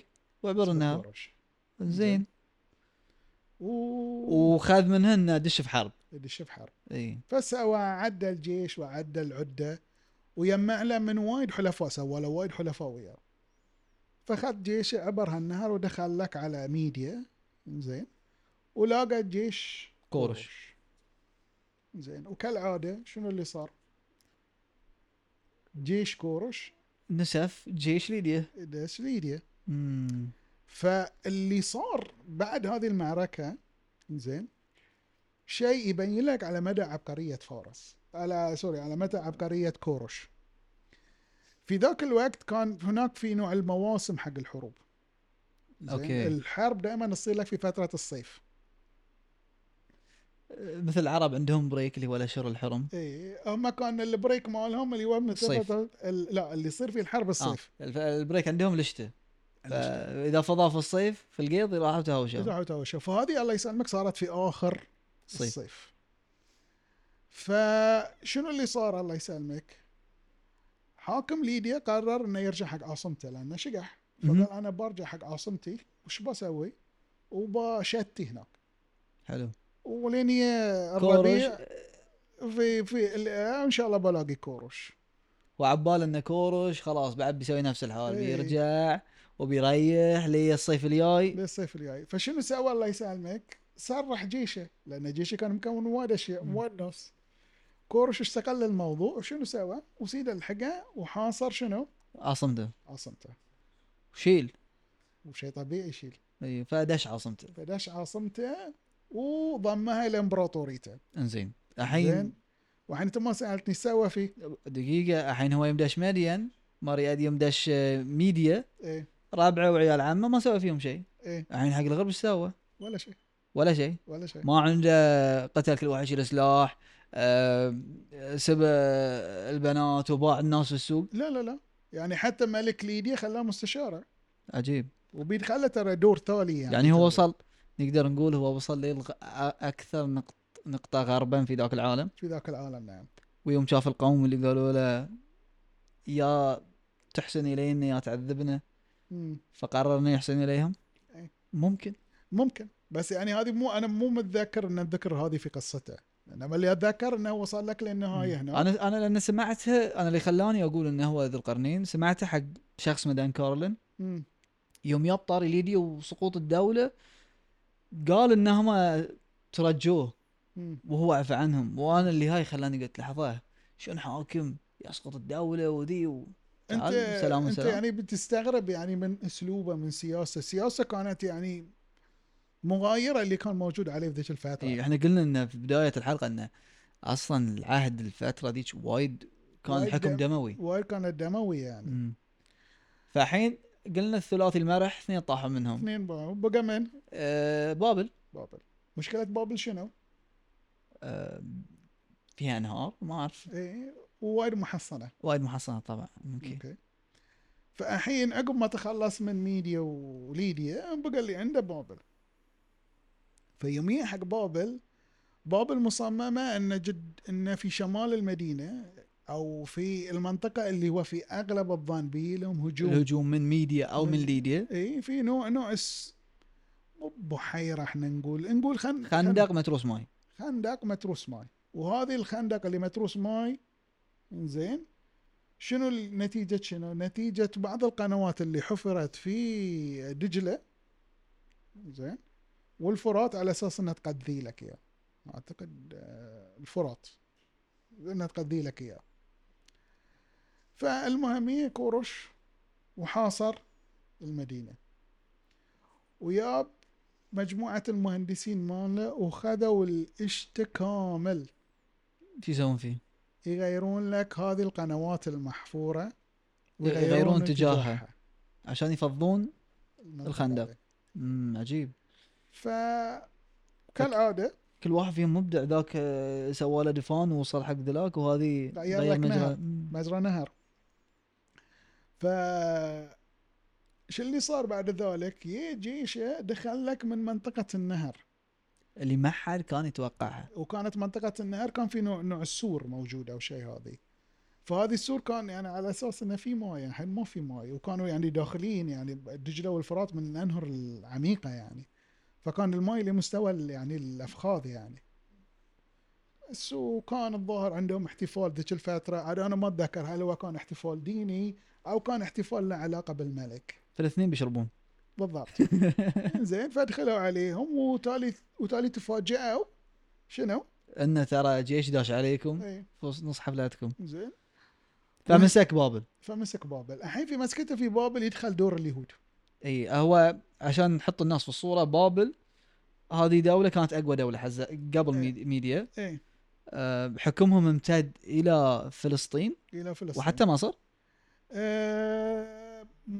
Speaker 1: واعبر النهر
Speaker 2: بورش.
Speaker 1: زين
Speaker 2: و
Speaker 1: وخذ منهن دش في حرب
Speaker 2: دش بحر
Speaker 1: اي
Speaker 2: فسوى عدى الجيش وعدى العده ويجمع له من وايد حلفاء سوى له وايد حلفاء وياه فخذ جيشه عبر هالنهر ودخل لك على ميديا زين ولاقى جيش
Speaker 1: كورش
Speaker 2: زين وكالعاده شنو اللي صار؟ جيش كورش
Speaker 1: نسف جيش ليديا
Speaker 2: داس ليديا
Speaker 1: امم
Speaker 2: فاللي صار بعد هذه المعركه زين شيء يبين لك على مدى عبقريه فارس على سوري على مدى عبقريه كورش في ذاك الوقت كان هناك في نوع المواسم حق الحروب زين؟
Speaker 1: أوكي.
Speaker 2: الحرب دائما تصير لك في فتره الصيف
Speaker 1: مثل العرب عندهم بريك اللي هو الاشهر الحرم
Speaker 2: اي هم إيه، كان البريك مالهم اللي هو من
Speaker 1: الصيف.
Speaker 2: فترة ال- لا اللي يصير في الحرب الصيف
Speaker 1: آه. الف- البريك عندهم الشتاء فاذا فضاه في الصيف في القيض راحوا تهاوشوا
Speaker 2: دعوة أول شيء فهذه الله يسلمك صارت في آخر
Speaker 1: الصيف.
Speaker 2: الصيف, الصيف. فشنو اللي صار الله يسلمك حاكم ليديا قرر انه يرجع حق عاصمته لانه شقح
Speaker 1: مهم.
Speaker 2: فقال انا برجع حق عاصمتي وش بسوي؟ وبشتي هناك
Speaker 1: حلو
Speaker 2: ولين يا
Speaker 1: كورش
Speaker 2: الربيع في في ال- ان شاء الله بلاقي كورش
Speaker 1: وعبال ان كورش خلاص بعد بيسوي نفس الحال
Speaker 2: إيه.
Speaker 1: بيرجع وبيريح لي الصيف الجاي
Speaker 2: للصيف الجاي فشنو سوى الله يسلمك؟ سرح جيشه لان جيشه كان مكون من وايد اشياء
Speaker 1: مم.
Speaker 2: من وايد ناس كورش استغل الموضوع وشنو سوى؟ وسيد الحقه وحاصر شنو؟
Speaker 1: عاصمته
Speaker 2: عاصمته
Speaker 1: شيل
Speaker 2: وشيء طبيعي يشيل
Speaker 1: اي فدش عاصمته
Speaker 2: فدش عاصمته وضمها الى امبراطوريته
Speaker 1: انزين الحين
Speaker 2: وحين انت ما سالتني ايش سوى فيه؟
Speaker 1: دقيقه الحين هو يمدش ميديان مرياد يمدش آه، ميديا
Speaker 2: ايه
Speaker 1: رابعه وعيال عمه ما سوى فيهم شيء
Speaker 2: ايه
Speaker 1: الحين حق الغرب ايش سوى؟
Speaker 2: ولا شيء
Speaker 1: ولا شيء
Speaker 2: ولا شيء
Speaker 1: ما عنده قتل كل واحد يشيل سلاح آه، سب آه، البنات وباع الناس في السوق
Speaker 2: لا لا لا يعني حتى ملك ليديا خلاه مستشاره
Speaker 1: عجيب
Speaker 2: وبيد خلى ترى دور تالي يعني
Speaker 1: يعني هو
Speaker 2: ترى.
Speaker 1: وصل نقدر نقول هو وصل للغ... اكثر نقط... نقطه غربا في ذاك العالم
Speaker 2: في ذاك العالم نعم
Speaker 1: ويوم شاف القوم اللي قالوا له يا تحسن الينا يا تعذبنا
Speaker 2: مم.
Speaker 1: فقرر انه يحسن اليهم
Speaker 2: إيه.
Speaker 1: ممكن
Speaker 2: ممكن بس يعني هذه مو انا مو متذكر ان اتذكر هذه في قصته انما اللي اتذكر انه وصل لك للنهايه هنا
Speaker 1: انا انا لان سمعتها انا اللي خلاني اقول انه هو ذو القرنين سمعته حق شخص مدان كارلن
Speaker 2: مم.
Speaker 1: يوم ياب طاري ليديا وسقوط الدوله قال انهم ترجوه
Speaker 2: مم.
Speaker 1: وهو عفى عنهم وانا اللي هاي خلاني قلت لحظه شلون حاكم يسقط الدوله وذي و...
Speaker 2: انت
Speaker 1: تعال، سلام
Speaker 2: انت
Speaker 1: سلام.
Speaker 2: يعني بتستغرب يعني من اسلوبه من سياسته سياسه كانت يعني مغايره اللي كان موجود عليه في ذيك الفتره
Speaker 1: إيه، احنا قلنا ان في بدايه الحلقه انه اصلا العهد الفتره ذيك وايد كان
Speaker 2: وايد
Speaker 1: الحكم
Speaker 2: دم-
Speaker 1: دموي
Speaker 2: وايد كانت دمويه يعني
Speaker 1: مم. فالحين قلنا الثلاثي المرح اثنين طاحوا منهم
Speaker 2: اثنين بقى بقى من
Speaker 1: أه بابل
Speaker 2: بابل مشكله بابل شنو؟
Speaker 1: أه فيها انهار ما اعرف
Speaker 2: ايه ووايد محصنه
Speaker 1: وايد محصنه طبعا اوكي
Speaker 2: اوكي فالحين عقب ما تخلص من ميديا وليديا بقى اللي عنده بابل فيوميا حق بابل بابل مصممة أن جد أن في شمال المدينة أو في المنطقة اللي هو في أغلب الظن به لهم هجوم
Speaker 1: الهجوم من ميديا او من
Speaker 2: من-
Speaker 1: ليديا
Speaker 2: إي في نوع نوع اس مو بحيرة احنا نقول نقول خن
Speaker 1: خندق متروس ماي
Speaker 2: خندق متروس ماي وهذه الخندق اللي متروس ماي زين شنو النتيجة شنو نتيجة بعض القنوات اللي حفرت في دجلة زين والفرات على أساس أنها تقذي لك إياه أعتقد آه، الفرات أنها تقذي لك إياه فالمهم هي كورش وحاصر المدينة وياب مجموعة المهندسين ماله وخذوا الاشت كامل
Speaker 1: شو يسوون فيه؟
Speaker 2: يغيرون لك هذه القنوات المحفورة
Speaker 1: يغيرون اتجاهها. عشان يفضون
Speaker 2: المنطقة
Speaker 1: الخندق.
Speaker 2: هذه.
Speaker 1: امم عجيب
Speaker 2: ف كالعادة
Speaker 1: كل واحد فيهم مبدع ذاك آه، سوى له دفان ووصل حق ذلاك وهذه
Speaker 2: غير
Speaker 1: غير
Speaker 2: لك نهر.
Speaker 1: مجرى مم.
Speaker 2: مجرى نهر ف شو اللي صار بعد ذلك؟ يي جيشه دخل لك من منطقة النهر
Speaker 1: اللي ما حد كان يتوقعها
Speaker 2: وكانت منطقة النهر كان في نوع نوع السور موجود او شيء هذه فهذه السور كان يعني على اساس انه في ماي الحين ما في ماي وكانوا يعني داخلين يعني دجله والفرات من الانهر العميقه يعني فكان الماي لمستوى ال- يعني الافخاذ يعني بس وكان الظاهر عندهم احتفال ذيك الفتره عاد انا ما اتذكر هل هو كان احتفال ديني او كان احتفال له علاقه بالملك
Speaker 1: فالاثنين بيشربون
Speaker 2: بالضبط زين فدخلوا عليهم وتالي وتالي تفاجئوا شنو؟
Speaker 1: انه ترى جيش داش عليكم
Speaker 2: ايه
Speaker 1: في نص حفلاتكم
Speaker 2: زين
Speaker 1: فمسك بابل
Speaker 2: فمسك بابل الحين في مسكته في بابل يدخل دور اليهود
Speaker 1: اي هو عشان نحط الناس في الصوره بابل هذه دولة كانت أقوى دولة حزة قبل
Speaker 2: إيه.
Speaker 1: ميد- ميديا
Speaker 2: ايه
Speaker 1: أه، حكمهم امتد إلى فلسطين
Speaker 2: الى فلسطين
Speaker 1: وحتى مصر
Speaker 2: آه م-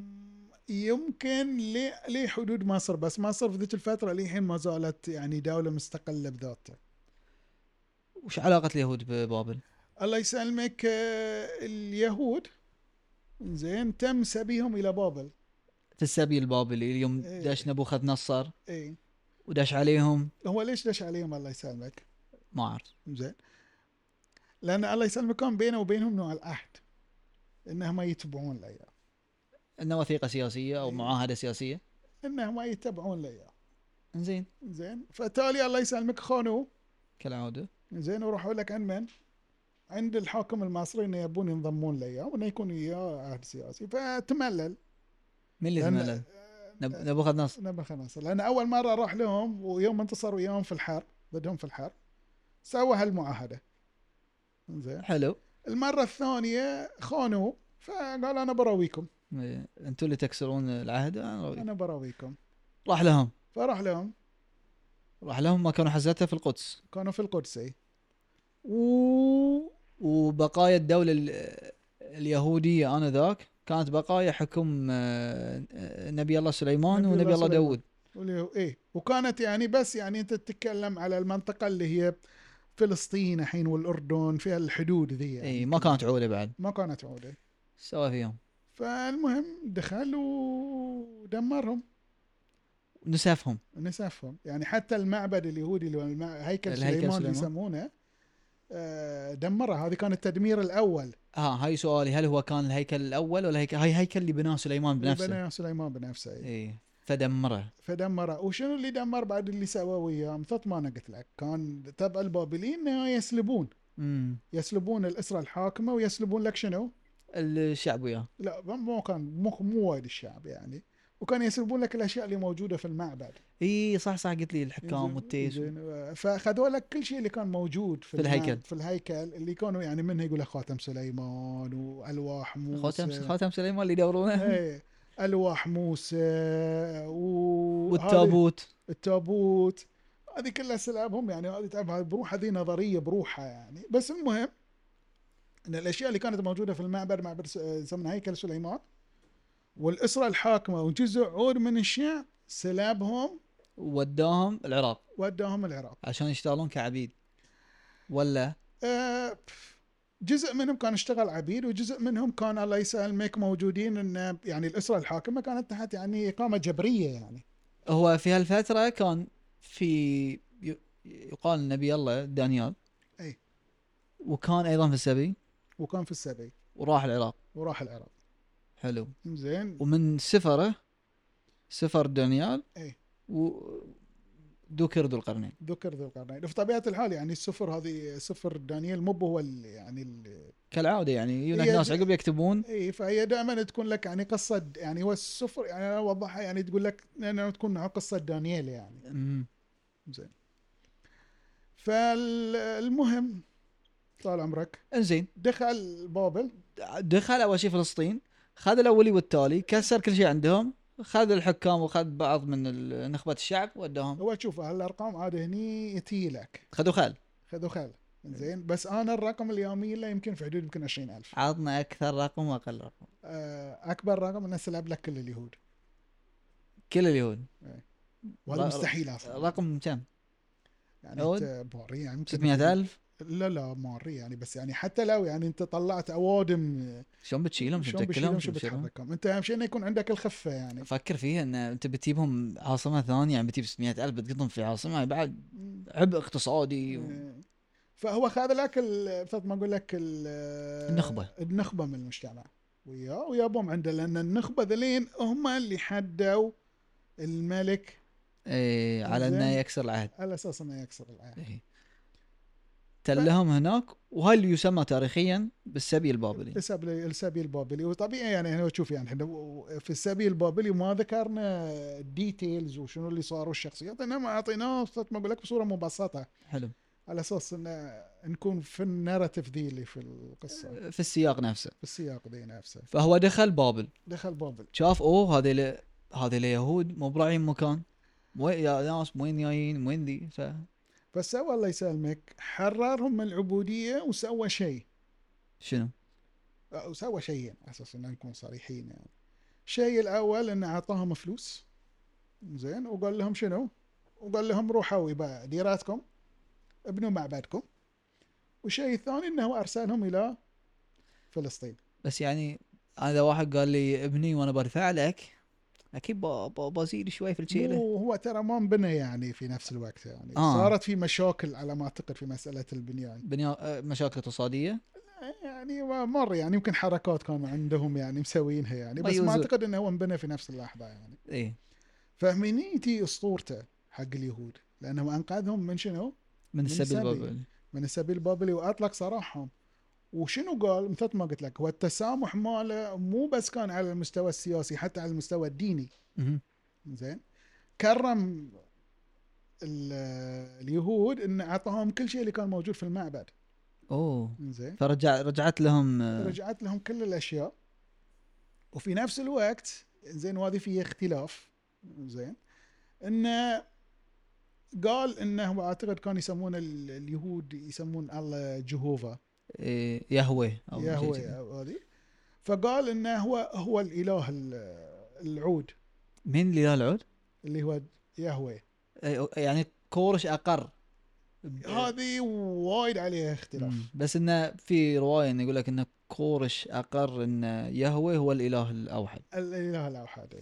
Speaker 2: يمكن لي- لحدود مصر بس مصر في ذيك الفتره للحين ما زالت يعني دوله مستقله بذاتها
Speaker 1: وش علاقة اليهود ببابل؟
Speaker 2: الله يسلمك آه اليهود زين تم سبيهم الى بابل
Speaker 1: في السبي البابلي اليوم
Speaker 2: إيه.
Speaker 1: داش نبوخذ نصر
Speaker 2: ايه
Speaker 1: وداش عليهم
Speaker 2: هو ليش دش عليهم الله يسلمك
Speaker 1: ما أعرف
Speaker 2: زين لان الله يسلمك كان بينه وبينهم نوع العهد انهم ما يتبعون له إياه.
Speaker 1: انه وثيقه سياسيه او
Speaker 2: إيه.
Speaker 1: معاهده سياسيه
Speaker 2: انهم ما يتبعون له إياه.
Speaker 1: زين
Speaker 2: زين فتالي الله يسلمك خانوا
Speaker 1: كالعاده
Speaker 2: زين وراحوا لك عند من؟ عند الحاكم المصري انه يبون ينضمون له اياه وانه يكون وياه عهد سياسي فتملل
Speaker 1: من اللي
Speaker 2: لأن-
Speaker 1: تملل؟
Speaker 2: آه،
Speaker 1: نب... نبوخذ نصر
Speaker 2: نبخ نصر لان اول مره راح لهم ويوم ما انتصر وياهم في الحرب ضدهم في الحرب سوى هالمعاهده زين
Speaker 1: حلو
Speaker 2: المره الثانيه خانوه فقال انا براويكم
Speaker 1: إيه، انتوا اللي تكسرون العهد أنا راضي.
Speaker 2: انا براويكم
Speaker 1: راح لهم
Speaker 2: فراح لهم
Speaker 1: راح لهم ما كانوا حزتها في القدس
Speaker 2: كانوا في القدس إي.
Speaker 1: و... وبقايا الدوله ال... اليهوديه انذاك كانت بقايا حكم آه، آه، نبي الله سليمان
Speaker 2: نبي الله
Speaker 1: ونبي الله
Speaker 2: سليمان.
Speaker 1: داود
Speaker 2: واللي- ايه وكانت يعني بس يعني انت تتكلم على المنطقه اللي هي فلسطين الحين والاردن في الحدود ذي يعني
Speaker 1: اي ما كانت عوله بعد
Speaker 2: ما كانت عوده
Speaker 1: سوى فيهم
Speaker 2: فالمهم دخل ودمرهم
Speaker 1: نسفهم
Speaker 2: نسفهم يعني حتى المعبد اليهودي اللي هو المع- هيكل
Speaker 1: الهيكل
Speaker 2: سليمان اللي
Speaker 1: سليمان.
Speaker 2: يسمونه آه، دمره هذا كان التدمير الاول
Speaker 1: ها هاي سؤالي هل هو كان الهيكل الاول ولا هيكل هاي هيكل اللي بناه سليمان بنفسه
Speaker 2: بنى سليمان بنفسه إيه.
Speaker 1: اي فدمره
Speaker 2: فدمره وشنو اللي دمر بعد اللي سواه وياه مثل ما انا قلت لك كان تبع البابليين إنه يسلبون
Speaker 1: امم
Speaker 2: يسلبون الاسره الحاكمه ويسلبون لك شنو؟
Speaker 1: الشعب وياه
Speaker 2: لا مو كان مو, مو وايد الشعب يعني وكان يسلبون لك الاشياء اللي موجوده في المعبد
Speaker 1: اي صح صح قلت لي الحكام والتيس و-
Speaker 2: زين، فاخذوا لك كل شيء اللي كان موجود في,
Speaker 1: في الهيكل.
Speaker 2: المعبد- في الهيكل اللي كانوا يعني منه يقول لك خاتم سليمان والواح موسى
Speaker 1: خاتم خاتم سليمان اللي يدورونه
Speaker 2: ايه الواح موسى و... هذه-
Speaker 1: والتابوت
Speaker 2: التابوت هذه كلها سلابهم يعني هذه تعرف هذه بروح هذه نظريه بروحها يعني بس المهم ان الاشياء اللي كانت موجوده في المعبد معبد س- آه، يسمونه هيكل سليمان والاسره الحاكمه وجزء عود من الشعب سلابهم
Speaker 1: وداهم العراق
Speaker 2: وداهم العراق
Speaker 1: عشان يشتغلون كعبيد ولا
Speaker 2: آه، جزء منهم كان اشتغل عبيد وجزء منهم كان الله يسلمك موجودين ان يعني الاسره الحاكمه كانت تحت يعني اقامه جبريه يعني
Speaker 1: هو في هالفتره كان في ي- يقال النبي الله دانيال
Speaker 2: أي.
Speaker 1: وكان ايضا في السبي
Speaker 2: وكان في السبي
Speaker 1: وراح العراق
Speaker 2: وراح العراق
Speaker 1: حلو
Speaker 2: زين
Speaker 1: ومن سفره سفر دانيال
Speaker 2: أي.
Speaker 1: و ذكر ذو القرنين
Speaker 2: ذكر ذو القرنين في طبيعه الحال يعني السفر هذه سفر دانيال مو هو ال- يعني ال-
Speaker 1: كالعاده يعني يجون
Speaker 2: هي-
Speaker 1: ناس عقب يكتبون
Speaker 2: اي فهي دائما تكون لك يعني قصه د- يعني هو السفر يعني انا اوضحها يعني تقول لك لانه تكون نوع قصه دانيال يعني
Speaker 1: أمم.
Speaker 2: زين فالمهم طال عمرك
Speaker 1: انزين
Speaker 2: دخل بابل
Speaker 1: دخل اول شيء فلسطين خذ الاولي والتالي كسر كل شيء عندهم خذ الحكام وخذ بعض من ال- نخبه الشعب وداهم
Speaker 2: هو شوف هالارقام عاد هني تي لك
Speaker 1: خذوا خال
Speaker 2: خذوا خل زين بس انا الرقم اليومي له يمكن في حدود يمكن 20000
Speaker 1: عطنا اكثر رقم واقل رقم
Speaker 2: آه، اكبر رقم انه سلب لك كل اليهود
Speaker 1: كل اليهود
Speaker 2: وهذا
Speaker 1: ر-
Speaker 2: مستحيل اصلا
Speaker 1: رقم كم؟
Speaker 2: يعني
Speaker 1: عود؟
Speaker 2: انت بوري يعني يمكن-
Speaker 1: 600000
Speaker 2: لا لا ماري يعني بس يعني حتى لو يعني انت طلعت اوادم
Speaker 1: شلون بتشيلهم شلون
Speaker 2: شلون
Speaker 1: بتاكلهم
Speaker 2: بتشيلهم إيه، شو
Speaker 1: شلون بتشيلهم
Speaker 2: بتحركهم انت اهم شيء انه يكون عندك الخفه يعني
Speaker 1: فكر فيها ان انت بتجيبهم عاصمه ثانيه يعني بتجيب 600000 بتقطهم في عاصمه بعد عبء اقتصادي و...
Speaker 2: آه، فهو خذ لك ال- مثل ما اقول لك ال-
Speaker 1: النخبة.
Speaker 2: النخبه من المجتمع وياه ويابهم عنده لان النخبه ذلين هم اللي حدوا الملك
Speaker 1: ايه على انه
Speaker 2: إنزين.
Speaker 1: يكسر العهد
Speaker 2: على اساس انه يكسر العهد
Speaker 1: إيه. تلهم هناك وهاي اللي يسمى تاريخيا بالسبي البابلي
Speaker 2: السبي السبي البابلي وطبيعي يعني هنا شوف يعني احنا في السبي البابلي ما ذكرنا ديتيلز وشنو اللي صاروا الشخصيات انما اعطيناه مثل ما اقول لك بصوره مبسطه
Speaker 1: حلو
Speaker 2: على اساس ان نكون في الناراتيف ذي اللي في القصه
Speaker 1: في السياق نفسه
Speaker 2: في السياق ذي نفسه
Speaker 1: فهو دخل بابل
Speaker 2: دخل بابل
Speaker 1: شاف اوه هذيل هذيل يهود مو براعين مكان وين يا ناس وين جايين وين ذي ف
Speaker 2: فسوى الله يسلمك حررهم من العبوديه وسوى شيء
Speaker 1: شنو؟
Speaker 2: أو سوى شيئين على اساس ان نكون صريحين يعني الشيء الاول انه اعطاهم فلوس زين وقال لهم شنو؟ وقال لهم روحوا يبا ديراتكم ابنوا معبدكم والشيء الثاني انه ارسلهم الى فلسطين
Speaker 1: بس يعني انا اذا واحد قال لي ابني وانا بدفع لك اكيد ب- ب- بزيد شوي في الشيله
Speaker 2: وهو ترى ما انبنى يعني في نفس الوقت يعني
Speaker 1: آه.
Speaker 2: آه. صارت في مشاكل على ما اعتقد في مساله البنيان
Speaker 1: بنيا آه، مشاكل اقتصاديه
Speaker 2: يعني ما- مر يعني يمكن حركات كانوا عندهم يعني مسوينها يعني
Speaker 1: ما
Speaker 2: بس ما
Speaker 1: يوزر.
Speaker 2: اعتقد انه هو انبنى في نفس اللحظه يعني
Speaker 1: ايه
Speaker 2: فمن يجي اسطورته حق اليهود لانه انقذهم من شنو؟
Speaker 1: من السبي
Speaker 2: السبي.
Speaker 1: البابلي
Speaker 2: من السبيل البابلي واطلق سراحهم وشنو قال مثل ما قلت لك هو التسامح ماله مو بس كان على المستوى السياسي حتى على المستوى الديني
Speaker 1: مهم.
Speaker 2: زين كرم ال- اليهود ان اعطاهم كل شيء اللي كان موجود في المعبد
Speaker 1: اوه
Speaker 2: زين
Speaker 1: فرجع رجعت لهم آه،
Speaker 2: رجعت لهم كل الاشياء وفي نفس الوقت زين وهذه فيه اختلاف زين انه قال انه هو اعتقد كانوا يسمون ال- اليهود يسمون الله جهوفا
Speaker 1: إيه، يهوه او شيء
Speaker 2: يهوه
Speaker 1: كذي.
Speaker 2: أو هذه فقال انه هو هو الاله ال- العود
Speaker 1: مين اللي لا العود؟
Speaker 2: اللي هو يهوه
Speaker 1: إيه، أو- يعني كورش اقر ب-
Speaker 2: هذه وايد عليها اختلاف
Speaker 1: مم. بس انه في روايه انه يقول لك انه كورش اقر ان يهوه هو الاله الاوحد
Speaker 2: الاله الاوحد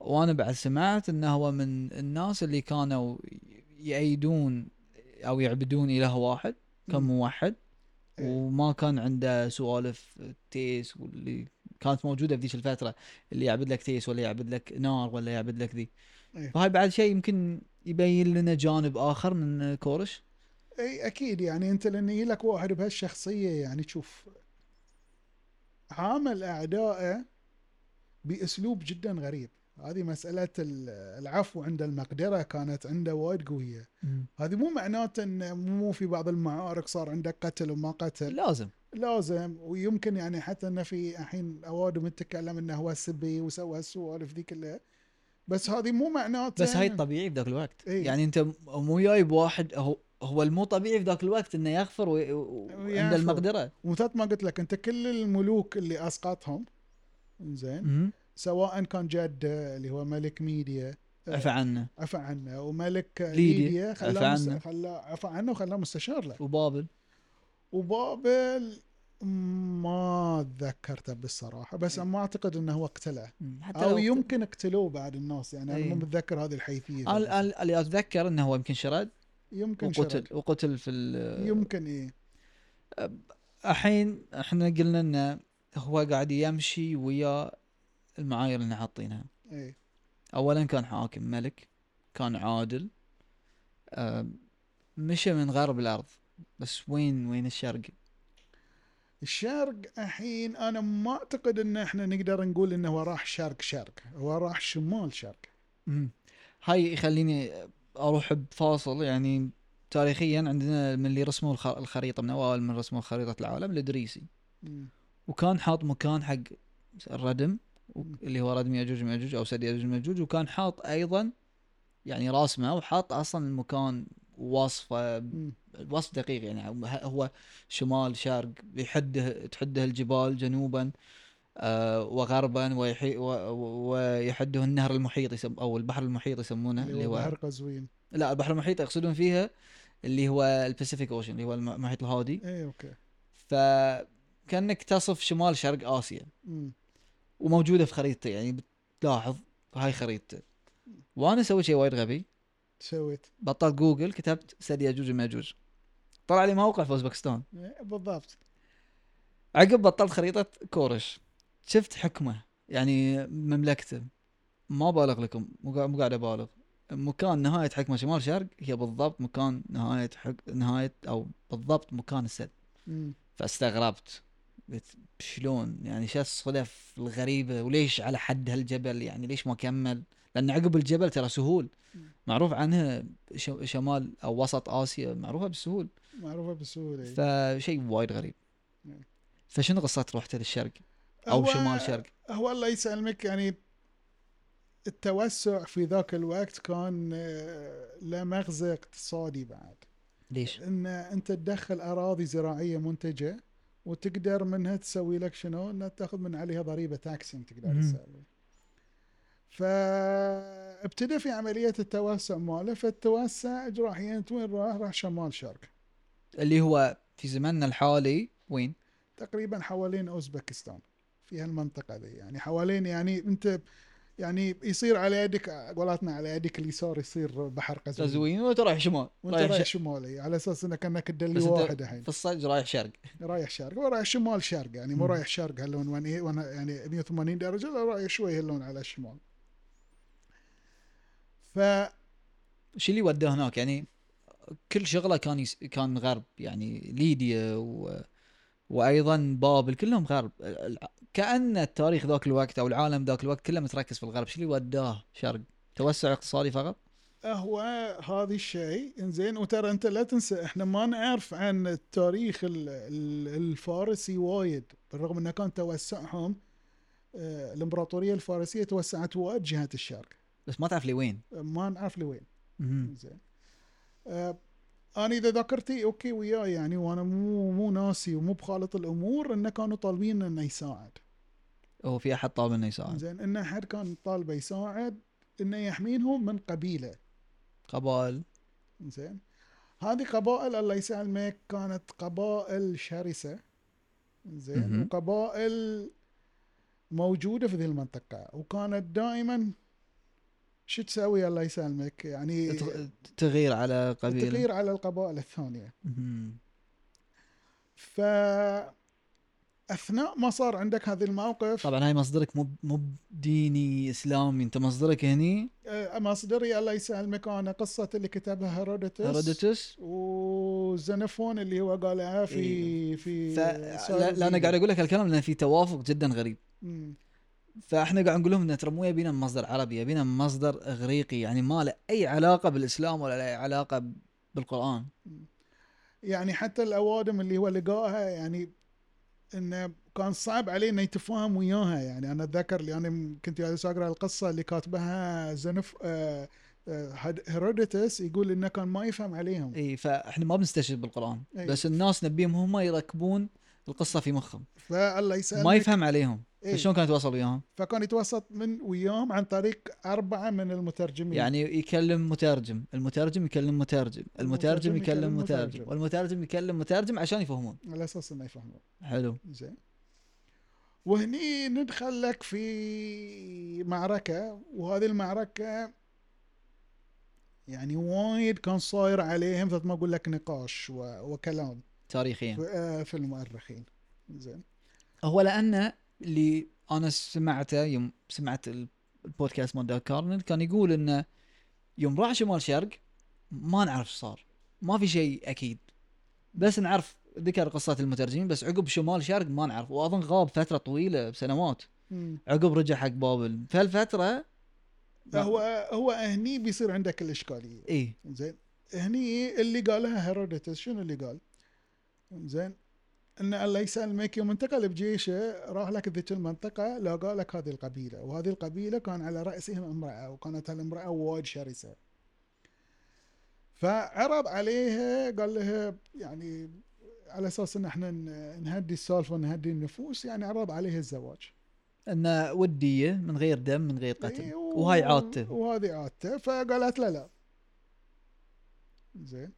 Speaker 1: وانا بعد سمعت انه هو من الناس اللي كانوا يأيدون او يعبدون اله واحد كان
Speaker 2: مم.
Speaker 1: موحد
Speaker 2: إيه.
Speaker 1: وما كان عنده سوالف تيس واللي كانت موجوده في ذيك الفتره اللي يعبد لك تيس ولا يعبد لك نار ولا يعبد لك ذي
Speaker 2: إيه.
Speaker 1: فهاي بعد شيء يمكن يبين لنا جانب اخر من كورش
Speaker 2: اي اكيد يعني انت لان يجي لك واحد بهالشخصيه يعني تشوف عامل اعدائه باسلوب جدا غريب هذه مساله ال- العفو عند المقدره كانت عنده وايد قويه هذه مو معناته انه مو في بعض المعارك صار عندك قتل وما قتل
Speaker 1: لازم
Speaker 2: لازم ويمكن يعني حتى انه في الحين اوادم تتكلم انه هو سبي وسوى هالسوالف ذي كلها بس هذه مو معناته
Speaker 1: بس هاي
Speaker 2: إنه-
Speaker 1: الطبيعي في ذاك الوقت
Speaker 2: إيه.
Speaker 1: يعني انت م- مو جايب واحد هو هو المو طبيعي في ذاك الوقت انه يغفر وي- و- وعنده
Speaker 2: ويعفو.
Speaker 1: المقدره
Speaker 2: ومثل ما قلت لك انت كل الملوك اللي اسقطهم زين
Speaker 1: مهم.
Speaker 2: سواء كان جده اللي هو ملك ميديا
Speaker 1: عفى عنه
Speaker 2: عفى عنه وملك آه،
Speaker 1: ليديا،
Speaker 2: ليديا
Speaker 1: عفى
Speaker 2: خلاه مس-
Speaker 1: عنه.
Speaker 2: خلاه عفى عنه وخلاه مستشار له
Speaker 1: وبابل
Speaker 2: وبابل ما تذكرته بالصراحه بس ما اعتقد انه هو إيه. اقتله
Speaker 1: مم. حتى
Speaker 2: او
Speaker 1: لو-
Speaker 2: يمكن اقتلوه بعد الناس يعني انا
Speaker 1: أي.
Speaker 2: مو متذكر هذه الحيثيه
Speaker 1: أنا- أنا- اللي اتذكر انه هو يمكن شرد
Speaker 2: يمكن
Speaker 1: وقتل
Speaker 2: شرد.
Speaker 1: وقتل في ال-
Speaker 2: يمكن ايه
Speaker 1: الحين احنا قلنا انه هو قاعد يمشي ويا المعايير اللي حاطينها
Speaker 2: ايه
Speaker 1: اولا كان حاكم ملك كان عادل أم، مشى من غرب الارض بس وين وين الشرق
Speaker 2: الشرق الحين انا ما اعتقد ان احنا نقدر نقول انه هو راح شرق شرق هو راح شمال شرق
Speaker 1: مم. هاي يخليني اروح بفاصل يعني تاريخيا عندنا من اللي رسموا الخ- الخريطه من اوائل من رسموا خريطه العالم الادريسي
Speaker 2: مم.
Speaker 1: وكان حاط مكان حق الردم و-
Speaker 2: مم.
Speaker 1: اللي هو ردم ياجوج ماجوج او سد ياجوج ماجوج وكان حاط ايضا يعني راسمه وحاط اصلا المكان وصفه
Speaker 2: مم.
Speaker 1: الوصف دقيق يعني ه- هو شمال شرق يحده تحده الجبال جنوبا آه، وغربا ويحي و- و- ويحده النهر المحيط يسم او البحر المحيط يسمونه
Speaker 2: اللي هو بحر قزوين
Speaker 1: لا البحر المحيط يقصدون فيها اللي هو الباسيفيك اوشن اللي هو الم- المحيط الهادي
Speaker 2: اي اوكي
Speaker 1: فكانك تصف شمال شرق اسيا
Speaker 2: مم.
Speaker 1: وموجوده في خريطته يعني بتلاحظ هاي خريطته وانا سويت شيء وايد غبي
Speaker 2: سويت
Speaker 1: بطلت جوجل كتبت سد ياجوج وماجوج طلع لي موقع في اوزبكستان
Speaker 2: إيه، بالضبط
Speaker 1: عقب بطلت خريطه كورش شفت حكمه يعني مملكته ما بالغ لكم مو قاعد- مو قاعد ابالغ مكان نهايه حكمه شمال شرق هي بالضبط مكان نهايه حك... نهايه او بالضبط مكان السد
Speaker 2: مم.
Speaker 1: فاستغربت قلت شلون يعني شو الصدف الغريبه وليش على حد هالجبل يعني ليش ما كمل لان عقب الجبل ترى سهول معروف عنها ش... شمال او وسط اسيا معروفه بالسهول
Speaker 2: معروفه بسهوله إيه.
Speaker 1: فشيء وايد غريب
Speaker 2: نعم.
Speaker 1: فشنو قصه روحته للشرق او
Speaker 2: هو-
Speaker 1: شمال شرق
Speaker 2: هو الله يسلمك يعني التوسع في ذاك الوقت كان آه، له مغزى اقتصادي بعد
Speaker 1: ليش؟
Speaker 2: ان انت تدخل اراضي زراعيه منتجه وتقدر منها تسوي لك شنو؟ انها تاخذ من عليها ضريبه تاكسين تقدر
Speaker 1: مم.
Speaker 2: تسوي. فابتدى في عمليه التوسع ماله فالتوسع جراحيا وين راح؟ راح شمال شرق
Speaker 1: اللي هو في زماننا الحالي وين؟
Speaker 2: تقريبا حوالين اوزبكستان في هالمنطقه ذي يعني حوالين يعني انت يعني يصير على يدك قولاتنا على يدك اليسار يصير بحر قزوين
Speaker 1: تزوين وانت رايح شمال
Speaker 2: وانت رايح شمالي على اساس انك انك
Speaker 1: طيب، بس
Speaker 2: تدلي
Speaker 1: أنت
Speaker 2: واحد الحين
Speaker 1: في الصج رايح شرق
Speaker 2: رايح شرق ورايح شمال شرق يعني مو
Speaker 1: مم.
Speaker 2: رايح شرق هاللون وين إيه وانا يعني 180 درجه لا رايح شوي هاللون على الشمال ف
Speaker 1: شو اللي وداه هناك يعني كل شغله كان يس... كان غرب يعني ليديا و... وايضا بابل كلهم غرب الع- كان التاريخ ذاك الوقت او العالم ذاك الوقت كله متركز في الغرب شو اللي وداه شرق؟ توسع اقتصادي فقط
Speaker 2: هو هذا الشيء انزين وترى انت لا تنسى احنا ما نعرف عن التاريخ ال- ال- الفارسي وايد بالرغم انه كان توسعهم آه، الامبراطوريه الفارسيه توسعت وايد جهه الشرق
Speaker 1: بس ما تعرف لي وين
Speaker 2: ما نعرف لوين
Speaker 1: مهم.
Speaker 2: زين آه، انا اذا ذاكرتي اوكي وياي يعني وانا مو مو ناسي ومو بخالط الامور انه كانوا طالبين انه يساعد
Speaker 1: هو في احد طالب انه يساعد
Speaker 2: زين انه حد كان طالبه يساعد انه يحمينهم من قبيله
Speaker 1: قبائل
Speaker 2: زين هذه قبائل الله يسلمك كانت قبائل شرسه زين
Speaker 1: مهم.
Speaker 2: وقبائل موجوده في ذي المنطقه وكانت دائما شو تسوي الله يسلمك يعني
Speaker 1: تغ- تغير على قبيله
Speaker 2: تغير على القبائل الثانيه
Speaker 1: مهم.
Speaker 2: ف اثناء ما صار عندك هذا الموقف
Speaker 1: طبعا هاي مصدرك مو مو ديني اسلامي انت مصدرك هني
Speaker 2: آه، مصدري الله يسلمك انا قصه اللي كتبها هيرودوتس
Speaker 1: هيرودوتس
Speaker 2: وزنفون اللي هو قالها في في
Speaker 1: إيه. ف... لا لا، انا قاعد اقول لك الكلام لان في توافق جدا غريب
Speaker 2: اقول
Speaker 1: فاحنا قاعد نقول لهم ان ترى مو يبينا من مصدر عربي يبينا من مصدر اغريقي يعني ما له اي علاقه بالاسلام ولا له اي علاقه بالقران
Speaker 2: يعني حتى الاوادم اللي هو لقاها يعني انه كان صعب عليه انه يتفاهم وياها يعني انا اتذكر لاني م- كنت جالس اقرا القصه اللي كاتبها زنف آه، آه، هد- هيرودوتس يقول انه كان ما يفهم عليهم
Speaker 1: اي فاحنا ما بنستشهد بالقران
Speaker 2: أي.
Speaker 1: بس الناس نبيهم هم يركبون القصه في مخهم
Speaker 2: فالله يسأل
Speaker 1: ما يفهم عليهم
Speaker 2: إي.
Speaker 1: فشلون كان يتواصل وياهم
Speaker 2: فكان يتوسط من وياهم عن طريق اربعه من المترجمين
Speaker 1: يعني يكلم مترجم المترجم يكلم مترجم المترجم يكلم
Speaker 2: يكلم
Speaker 1: مترجم
Speaker 2: مترجم.
Speaker 1: والمترجم يكلم مترجم عشان يفهمون
Speaker 2: على اساس انه يفهمون
Speaker 1: حلو
Speaker 2: زين وهني ندخل لك في معركة وهذه المعركة يعني وايد كان صاير عليهم مثل ما اقول لك نقاش و- وكلام
Speaker 1: تاريخيا
Speaker 2: في- آه، في المؤرخين زين
Speaker 1: هو لانه اللي انا سمعته يوم سمعت ال- البودكاست مال داك كارنل كان يقول انه يوم راح شمال شرق ما نعرف شو صار ما في شيء اكيد بس نعرف ذكر قصة المترجمين بس عقب شمال شرق ما نعرف واظن غاب فترة طويلة بسنوات
Speaker 2: مم.
Speaker 1: عقب رجع حق بابل فهالفترة
Speaker 2: هو هو هني بيصير عندك الاشكالية
Speaker 1: اي
Speaker 2: زين هني اللي قالها هيرودوتس شنو اللي قال؟ زين ان الله يسلمك يوم انتقل بجيشه راح لك ذيك المنطقه لقى لك هذه القبيله وهذه القبيله كان على راسهم امراه وكانت هالامراه وايد شرسه فعرض عليها قال لها يعني على اساس ان احنا ن- نهدي السالفه ونهدي النفوس يعني عرض عليها الزواج
Speaker 1: انه ودية من غير دم من غير
Speaker 2: إي،
Speaker 1: قتل
Speaker 2: إيه، و-
Speaker 1: وهاي عادته
Speaker 2: وهذه عادته فقالت له لا زين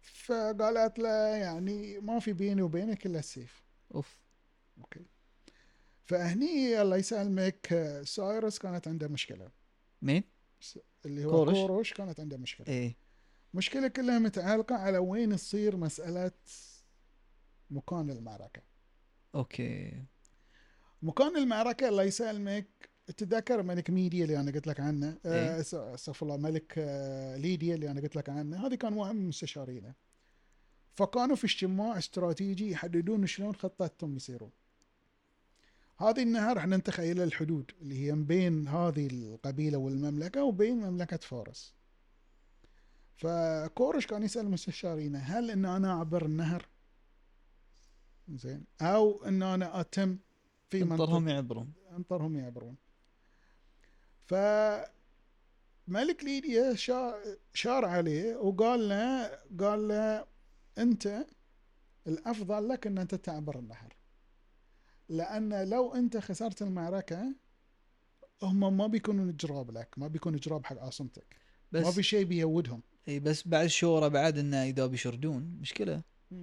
Speaker 2: فقالت له يعني ما في بيني وبينك الا السيف
Speaker 1: اوف
Speaker 2: اوكي فهني الله يسلمك آه، سايرس كانت عنده مشكله
Speaker 1: مين؟
Speaker 2: اللي هو
Speaker 1: كورش.
Speaker 2: كورش, كورش كانت عنده مشكله
Speaker 1: ايه
Speaker 2: مشكله كلها متعلقه على وين تصير مساله مكان المعركه
Speaker 1: اوكي
Speaker 2: مكان المعركة الله يسلمك تتذكر ملك ميديا اللي انا قلت لك عنه
Speaker 1: إيه.
Speaker 2: آه، أس- استغفر الله ملك آه، ليديا اللي انا قلت لك عنه هذه كان واحد من مستشارينه فكانوا في اجتماع استراتيجي يحددون شلون خطتهم يصيرون هذه النهار احنا نتخيل الحدود اللي هي بين هذه القبيلة والمملكة وبين مملكة فارس فكورش كان يسأل مستشارينه هل ان انا اعبر النهر زين او ان انا اتم في منطقة
Speaker 1: انطرهم يعبرون
Speaker 2: انطرهم يعبرون ف ملك ليديا شا- شار عليه وقال له قال له انت الافضل لك ان انت تعبر النهر لان لو انت خسرت المعركه هم ما بيكونوا جراب لك ما بيكونوا جراب حق عاصمتك ما
Speaker 1: بس
Speaker 2: في شيء بيودهم
Speaker 1: اي بس بعد الشورى بعد انه اذا بيشردون مشكله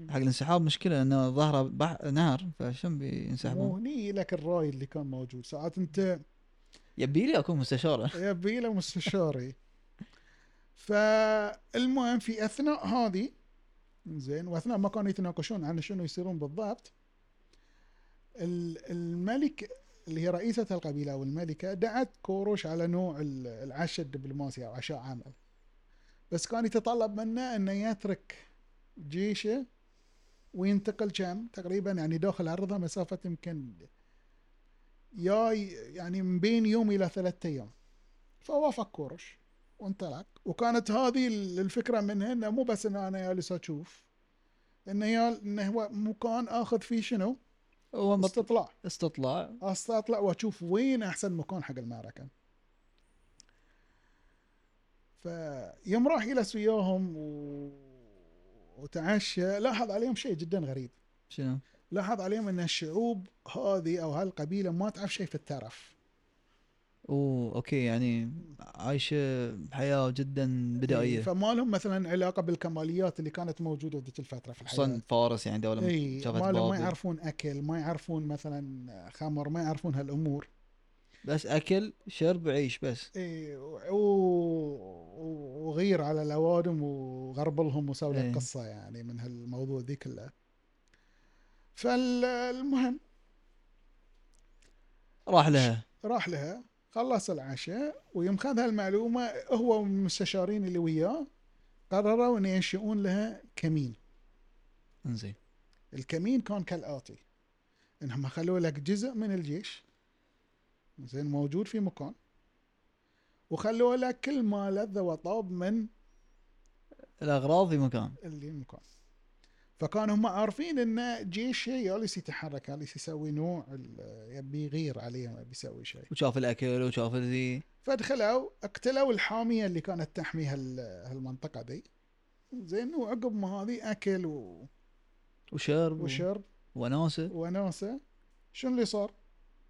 Speaker 1: حق الانسحاب مشكله انه ظهره بح... نهر فشلون بينسحبون؟
Speaker 2: وهني لك الراي اللي كان موجود ساعات انت
Speaker 1: يبي لي اكون مستشاره
Speaker 2: يبي له مستشاري فالمهم في اثناء هذه زين واثناء ما كانوا يتناقشون عن شنو يصيرون بالضبط ال- الملك اللي هي رئيسة القبيلة أو الملكة دعت كوروش على نوع ال- العشاء الدبلوماسي أو عشاء عمل بس كان يتطلب منه أنه يترك جيشه وينتقل كم تقريبا يعني داخل أرضها مسافة يمكن يا ي- يعني من بين يوم إلى ثلاثة أيام فوافق كورش وانطلق وكانت هذه الفكره منها انه مو بس ان انا جالس اشوف انه يال- انه هو مكان اخذ فيه شنو؟
Speaker 1: هو مط-
Speaker 2: استطلاع
Speaker 1: استطلاع
Speaker 2: استطلع واشوف وين احسن مكان حق المعركه فيوم راح يجلس وياهم و... وتعشى لاحظ عليهم شيء جدا غريب
Speaker 1: شنو؟
Speaker 2: لاحظ عليهم ان الشعوب هذه او هالقبيله ما تعرف شيء في الترف
Speaker 1: اوه اوكي يعني عايشه حياه جدا بدائيه
Speaker 2: فما لهم مثلا علاقه بالكماليات اللي كانت موجوده في ذيك الفتره في الحياه
Speaker 1: خصوصا فارس يعني دوله
Speaker 2: اي
Speaker 1: شافت
Speaker 2: ما لهم- إيه، ما
Speaker 1: بابل.
Speaker 2: يعرفون اكل ما يعرفون مثلا خمر ما يعرفون هالامور
Speaker 1: بس اكل شرب عيش بس
Speaker 2: إيه، و- و- وغير على الاوادم وغربلهم وسوي
Speaker 1: إيه.
Speaker 2: لك قصه يعني من هالموضوع ذي كله فالمهم
Speaker 1: راح لها
Speaker 2: راح لها خلص العشاء ويوم خذ هالمعلومه هو والمستشارين اللي وياه قرروا ان ينشئون لها كمين
Speaker 1: انزين
Speaker 2: الكمين كان كالاتي انهم خلوا لك جزء من الجيش زين موجود في مكان وخلوا لك كل ما لذ وطاب من
Speaker 1: الاغراض في مكان
Speaker 2: اللي مكان فكان هم عارفين ان جيش شيء جالس يتحرك جالس يسوي نوع ال- يبي يغير عليهم يبي يسوي شيء
Speaker 1: وشاف الاكل وشاف ذي
Speaker 2: فدخلوا اقتلوا الحاميه اللي كانت تحمي هال- هالمنطقه دي زين وعقب ما هذه اكل و-
Speaker 1: وشرب و-
Speaker 2: وشرب
Speaker 1: وناسه
Speaker 2: وناسه شنو اللي صار؟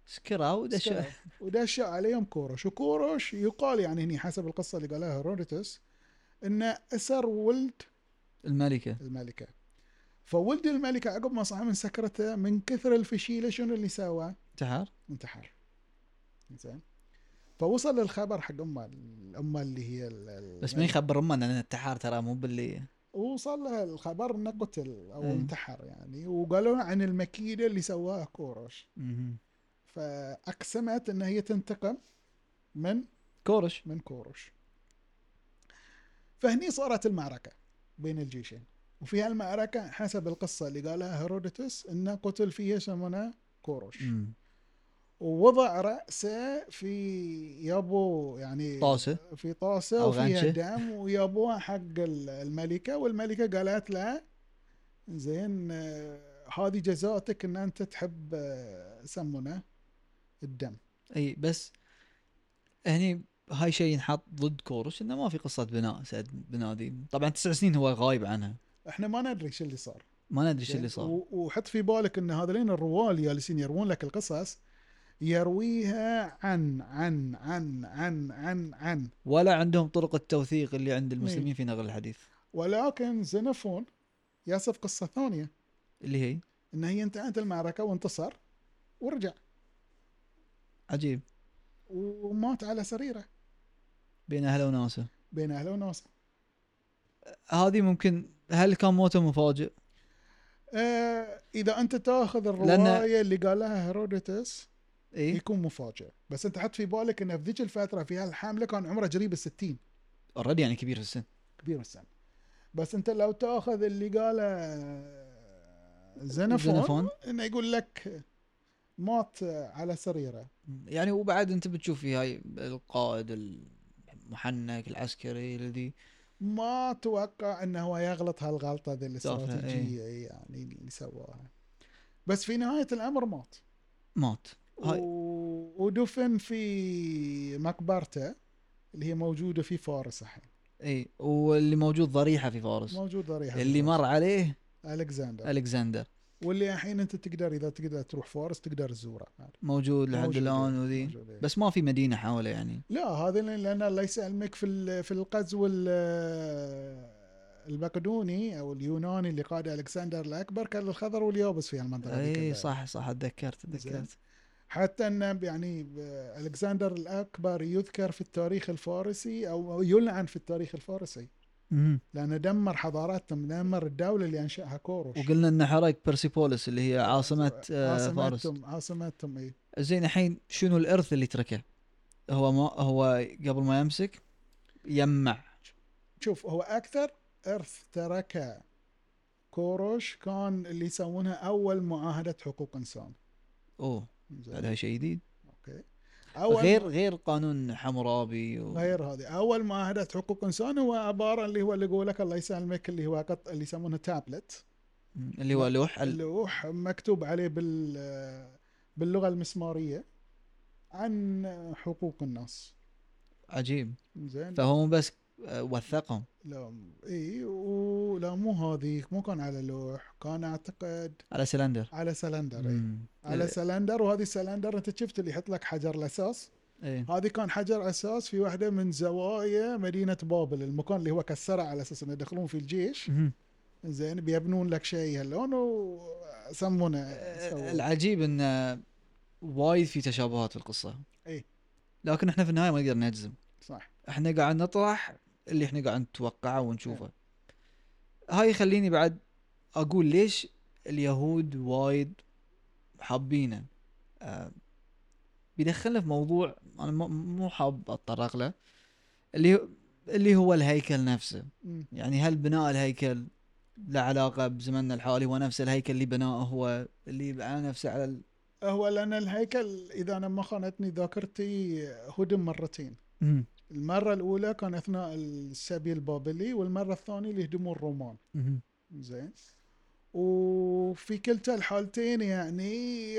Speaker 1: سكروا ودشوا
Speaker 2: استلم. ودش عليهم كورش وكورش يقال يعني هني حسب القصه اللي قالها هيرودوتس انه اسر ولد
Speaker 1: الملكه
Speaker 2: الملكه فولد الملكه عقب ما صحى من سكرته من كثر الفشيله شنو اللي سوى؟
Speaker 1: انتحر
Speaker 2: انتحر زين فوصل الخبر حق امه الامه اللي هي ال- ال-
Speaker 1: بس ما يخبر امه ان انا انتحر ترى مو باللي
Speaker 2: وصل لها الخبر انه قتل او
Speaker 1: إيه.
Speaker 2: انتحر يعني وقالوا عن المكيده اللي سواها كورش
Speaker 1: مهم.
Speaker 2: فاقسمت ان هي تنتقم من
Speaker 1: كورش
Speaker 2: من كوروش فهني صارت المعركة بين الجيشين وفي هالمعركة حسب القصة اللي قالها هيرودوتس انه قتل فيها يسمونه كوروش
Speaker 1: مم.
Speaker 2: ووضع رأسه في يابو يعني
Speaker 1: طاسه
Speaker 2: في طاسة
Speaker 1: أو
Speaker 2: وفيها
Speaker 1: غنشة.
Speaker 2: دم ويابوها حق ال- الملكة والملكة قالت له زين آه، هذه جزاتك ان انت تحب آه، يسمونه الدم
Speaker 1: اي بس هني هاي شيء ينحط ضد كورش انه ما في قصه بناء سعد بناء دي طبعا تسع سنين هو غايب عنها
Speaker 2: احنا ما ندري شو اللي صار
Speaker 1: ما ندري ايش اللي صار
Speaker 2: و- وحط في بالك ان هذولين الروال جالسين يروون لك القصص يرويها عن عن عن عن عن عن
Speaker 1: ولا عندهم طرق التوثيق اللي عند المسلمين في نقل الحديث
Speaker 2: ولكن زينفون يصف قصه ثانيه
Speaker 1: اللي هي
Speaker 2: ان هي انتهت المعركه وانتصر ورجع
Speaker 1: عجيب
Speaker 2: ومات على سريره
Speaker 1: بين اهله وناسه
Speaker 2: بين اهله وناسه
Speaker 1: هذه ممكن هل كان موته مفاجئ؟
Speaker 2: آه اذا انت تاخذ
Speaker 1: لأن- إيه؟
Speaker 2: الروايه اللي قالها هيرودوتس
Speaker 1: اي
Speaker 2: يكون مفاجئ بس انت حط في بالك انه في ذيك الفتره في هالحمله كان عمره قريب الستين
Speaker 1: اوريدي يعني كبير في السن
Speaker 2: كبير السن بس انت لو تاخذ اللي قاله زنفون
Speaker 1: زينوفون.
Speaker 2: انه يقول لك مات على سريره
Speaker 1: يعني وبعد انت بتشوف في هاي القائد المحنك العسكري الذي
Speaker 2: ما اتوقع انه هو يغلط هالغلطه ذي
Speaker 1: تافهة،
Speaker 2: الاستراتيجيه يعني اللي سواها بس في نهايه الامر مات
Speaker 1: مات هاي
Speaker 2: و... ودفن في مقبرته اللي هي موجوده في فارس الحين
Speaker 1: اي واللي موجود ضريحه في فارس
Speaker 2: موجود ضريحه
Speaker 1: اللي مر عليه
Speaker 2: الكسندر
Speaker 1: الكسندر
Speaker 2: واللي الحين انت تقدر اذا تقدر تروح فارس تقدر تزوره
Speaker 1: موجود لحد
Speaker 2: موجود،
Speaker 1: الان وذي
Speaker 2: موجود، إيه.
Speaker 1: بس ما في مدينه حوله يعني
Speaker 2: لا هذا لأن- لان الله يسلمك في ال- في القزو ال- المقدوني او اليوناني اللي قاده الكسندر الاكبر كان الخضر واليابس في هالمنطقه ذي
Speaker 1: اي
Speaker 2: كلها.
Speaker 1: صح صح اتذكرت
Speaker 2: زين.
Speaker 1: تذكرت
Speaker 2: حتى ان يعني ب- الكسندر الاكبر يذكر في التاريخ الفارسي او يلعن في التاريخ الفارسي لانه دمر حضاراتهم دمر الدوله اللي انشاها كوروش
Speaker 1: وقلنا انه حرق بيرسيبوليس اللي هي عاصمه آه، فارس
Speaker 2: عاصمتهم عاصمتهم إيه. اي
Speaker 1: زين الحين شنو الارث اللي تركه؟ هو ما هو قبل ما يمسك يجمع
Speaker 2: شوف هو اكثر ارث تركه كوروش كان اللي يسمونها اول معاهده حقوق انسان
Speaker 1: اوه
Speaker 2: زين.
Speaker 1: بعد هاي شيء جديد
Speaker 2: اوكي أول
Speaker 1: غير غير قانون حمورابي و...
Speaker 2: غير هذه اول معاهده حقوق انسان هو عباره اللي هو اللي يقول لك الله يسلمك اللي هو قط اللي يسمونه تابلت
Speaker 1: مم. اللي هو لوح ال...
Speaker 2: اللوح مكتوب عليه بال باللغه المسماريه عن حقوق الناس
Speaker 1: عجيب
Speaker 2: زين
Speaker 1: فهو مو بس آه، وثقهم
Speaker 2: لا اي ولا مو هذه مو كان على لوح كان اعتقد
Speaker 1: على سلندر
Speaker 2: على سلندر إي.
Speaker 1: مم.
Speaker 2: على سلندر وهذه السلندر انت شفت اللي يحط لك حجر الاساس
Speaker 1: إيه.
Speaker 2: هذه كان حجر اساس في واحده من زوايا مدينه بابل المكان اللي هو كسره على اساس انه يدخلون في الجيش
Speaker 1: مم.
Speaker 2: زين بيبنون لك شيء هاللون وسمونه
Speaker 1: آه، العجيب ان آه، وايد في تشابهات في القصه
Speaker 2: إيه.
Speaker 1: لكن احنا في النهايه ما نقدر نجزم
Speaker 2: صح
Speaker 1: احنا قاعد نطرح اللي احنا قاعد نتوقعه ونشوفه
Speaker 2: إيه.
Speaker 1: هاي يخليني بعد اقول ليش اليهود وايد حابينه آه، بيدخلنا في موضوع انا مو- مو حاب اتطرق له اللي هو- اللي هو الهيكل نفسه
Speaker 2: مم.
Speaker 1: يعني هل بناء الهيكل له علاقه بزمننا الحالي هو نفس الهيكل اللي بناه هو اللي بناه نفسه على ال...
Speaker 2: هو لان الهيكل اذا انا ما خانتني ذاكرتي هدم مرتين
Speaker 1: مهم.
Speaker 2: المره الاولى كان اثناء السبي البابلي والمره الثانيه اللي هدموا الرومان
Speaker 1: مهم.
Speaker 2: زين وفي كلتا الحالتين يعني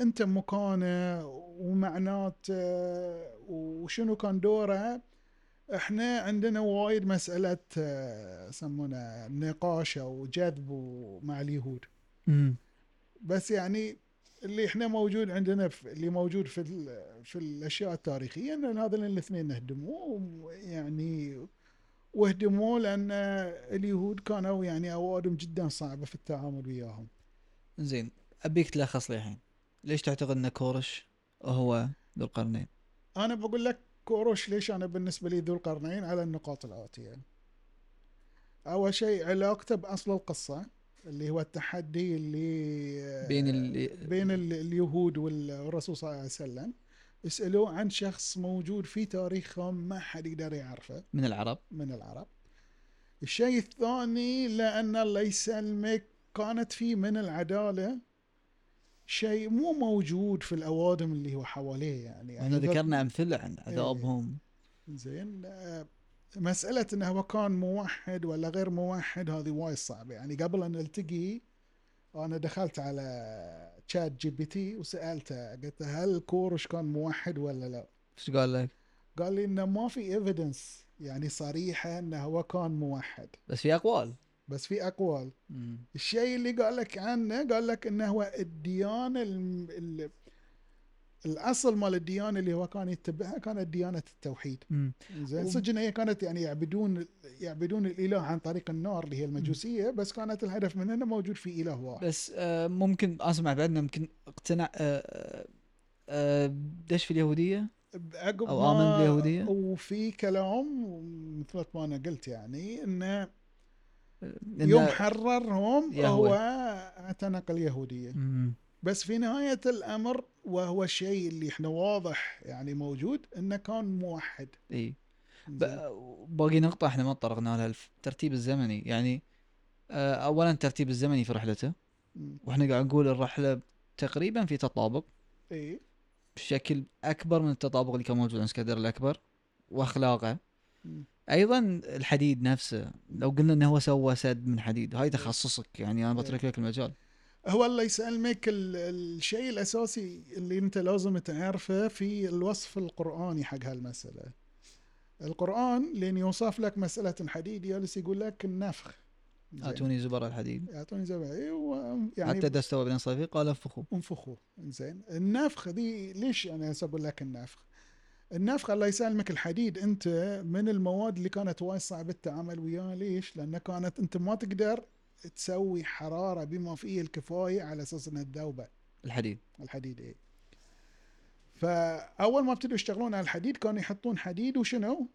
Speaker 2: انت مكانه ومعناته وشنو كان دوره احنا عندنا وايد مسألة آه، يسمونه نقاش او جذب مع اليهود
Speaker 1: مهم.
Speaker 2: بس يعني اللي احنا موجود عندنا في اللي موجود في ال- في الاشياء التاريخيه ان هذول الاثنين هدموه يعني وهدموه لان اليهود كانوا يعني اوادم جدا صعبه في التعامل وياهم.
Speaker 1: زين ابيك تلخص لي الحين ليش تعتقد ان كورش هو ذو القرنين؟
Speaker 2: انا بقول لك كوروش ليش انا بالنسبه لي ذو القرنين على النقاط الاتيه. اول شيء علاقته باصل القصه اللي هو التحدي اللي آه،
Speaker 1: بين ال-
Speaker 2: بين ال- اليهود والرسول صلى الله عليه وسلم اسالوه عن شخص موجود في تاريخهم ما حد يقدر يعرفه
Speaker 1: من العرب
Speaker 2: من العرب الشيء الثاني لان الله يسلمك كانت في من العداله شيء مو موجود في الاوادم اللي هو حواليه يعني
Speaker 1: احنا
Speaker 2: يعني ذاك-
Speaker 1: ذكرنا امثله عن عذابهم
Speaker 2: زين آه، مسألة انه هو كان موحد ولا غير موحد هذه وايد صعبة يعني قبل ان التقي انا دخلت على تشات جي بي تي وسألته قلت له هل كورش كان موحد ولا لا؟
Speaker 1: ايش قال لك؟
Speaker 2: قال لي انه ما في ايفيدنس يعني صريحة انه هو كان موحد
Speaker 1: بس في اقوال
Speaker 2: بس في اقوال
Speaker 1: مم.
Speaker 2: الشيء اللي قال لك عنه قال لك انه هو الديانة الم... ال... الاصل مال الديانة اللي هو كان يتبعها كانت ديانة التوحيد
Speaker 1: مم.
Speaker 2: زين
Speaker 1: و-
Speaker 2: صدق ان هي كانت يعني يعبدون يعبدون الاله عن طريق النار اللي هي المجوسيه بس كانت الهدف منها انه موجود في اله واحد
Speaker 1: بس آه ممكن اسمع بعدنا يمكن اقتنع آه آه دش في اليهوديه
Speaker 2: عقب
Speaker 1: أو
Speaker 2: ما-
Speaker 1: آمن باليهودية؟
Speaker 2: وفي كلام مثل ما انا قلت يعني انه
Speaker 1: إنه-
Speaker 2: يوم حررهم
Speaker 1: يهوه.
Speaker 2: هو اعتنق اليهوديه
Speaker 1: مم.
Speaker 2: بس في نهايه الامر وهو الشيء اللي احنا واضح يعني موجود انه كان موحد
Speaker 1: اي
Speaker 2: زين.
Speaker 1: ب- باقي نقطة احنا ما تطرقنا لها الترتيب الزمني يعني آه، اولا الترتيب الزمني في رحلته
Speaker 2: مم.
Speaker 1: واحنا قاعد نقول الرحلة تقريبا في تطابق
Speaker 2: اي
Speaker 1: بشكل اكبر من التطابق اللي كان موجود عند اسكندر الاكبر واخلاقه
Speaker 2: مم.
Speaker 1: ايضا الحديد نفسه لو قلنا انه هو سوى سد من حديد هاي تخصصك يعني انا بترك
Speaker 2: إيه.
Speaker 1: لك المجال
Speaker 2: هو الله يسلمك ال- الشيء الاساسي اللي انت لازم تعرفه في الوصف القراني حق هالمساله. القران لين يوصف لك مساله الحديد جالس يقول لك النفخ. زين.
Speaker 1: اتوني زبر الحديد
Speaker 2: اعطوني زبعي يعني
Speaker 1: حتى اذا استوى بين صيفي قال انفخوا
Speaker 2: انفخوا زين النفخ دي ليش انا هسه اقول لك النفخ النفخ الله يسلمك الحديد انت من المواد اللي كانت وايد صعبه التعامل وياها ليش؟ لان كانت انت ما تقدر تسوي حراره بما فيه الكفايه على اساس انها تذوبه.
Speaker 1: الحديد
Speaker 2: الحديد ايه فاول ما ابتدوا يشتغلون على الحديد كانوا يحطون حديد وشنو؟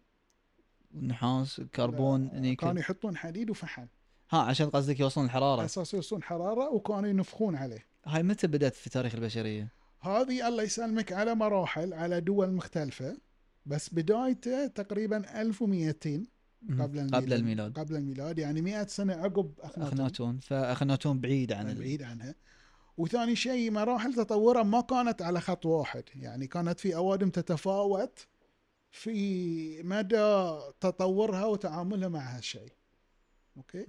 Speaker 1: النحاس الكربون
Speaker 2: كانوا
Speaker 1: نيكل
Speaker 2: يحطون حديد وفحم
Speaker 1: ها عشان قصدك يوصلون
Speaker 2: على
Speaker 1: الحراره
Speaker 2: اساس يوصلون حراره وكانوا ينفخون عليه.
Speaker 1: هاي متى بدات في تاريخ البشريه
Speaker 2: هذه الله يسلمك على مراحل على دول مختلفه بس بدايته تقريبا 1200
Speaker 1: مهم.
Speaker 2: قبل الميلاد
Speaker 1: قبل الميلاد
Speaker 2: قبل الميلاد يعني 100 سنه عقب اخناتون
Speaker 1: اخناتون فاخناتون بعيد عن ال...
Speaker 2: بعيد عنها وثاني شيء مراحل تطوره ما كانت على خط واحد يعني كانت في اوادم تتفاوت في مدى تطورها وتعاملها مع هالشيء اوكي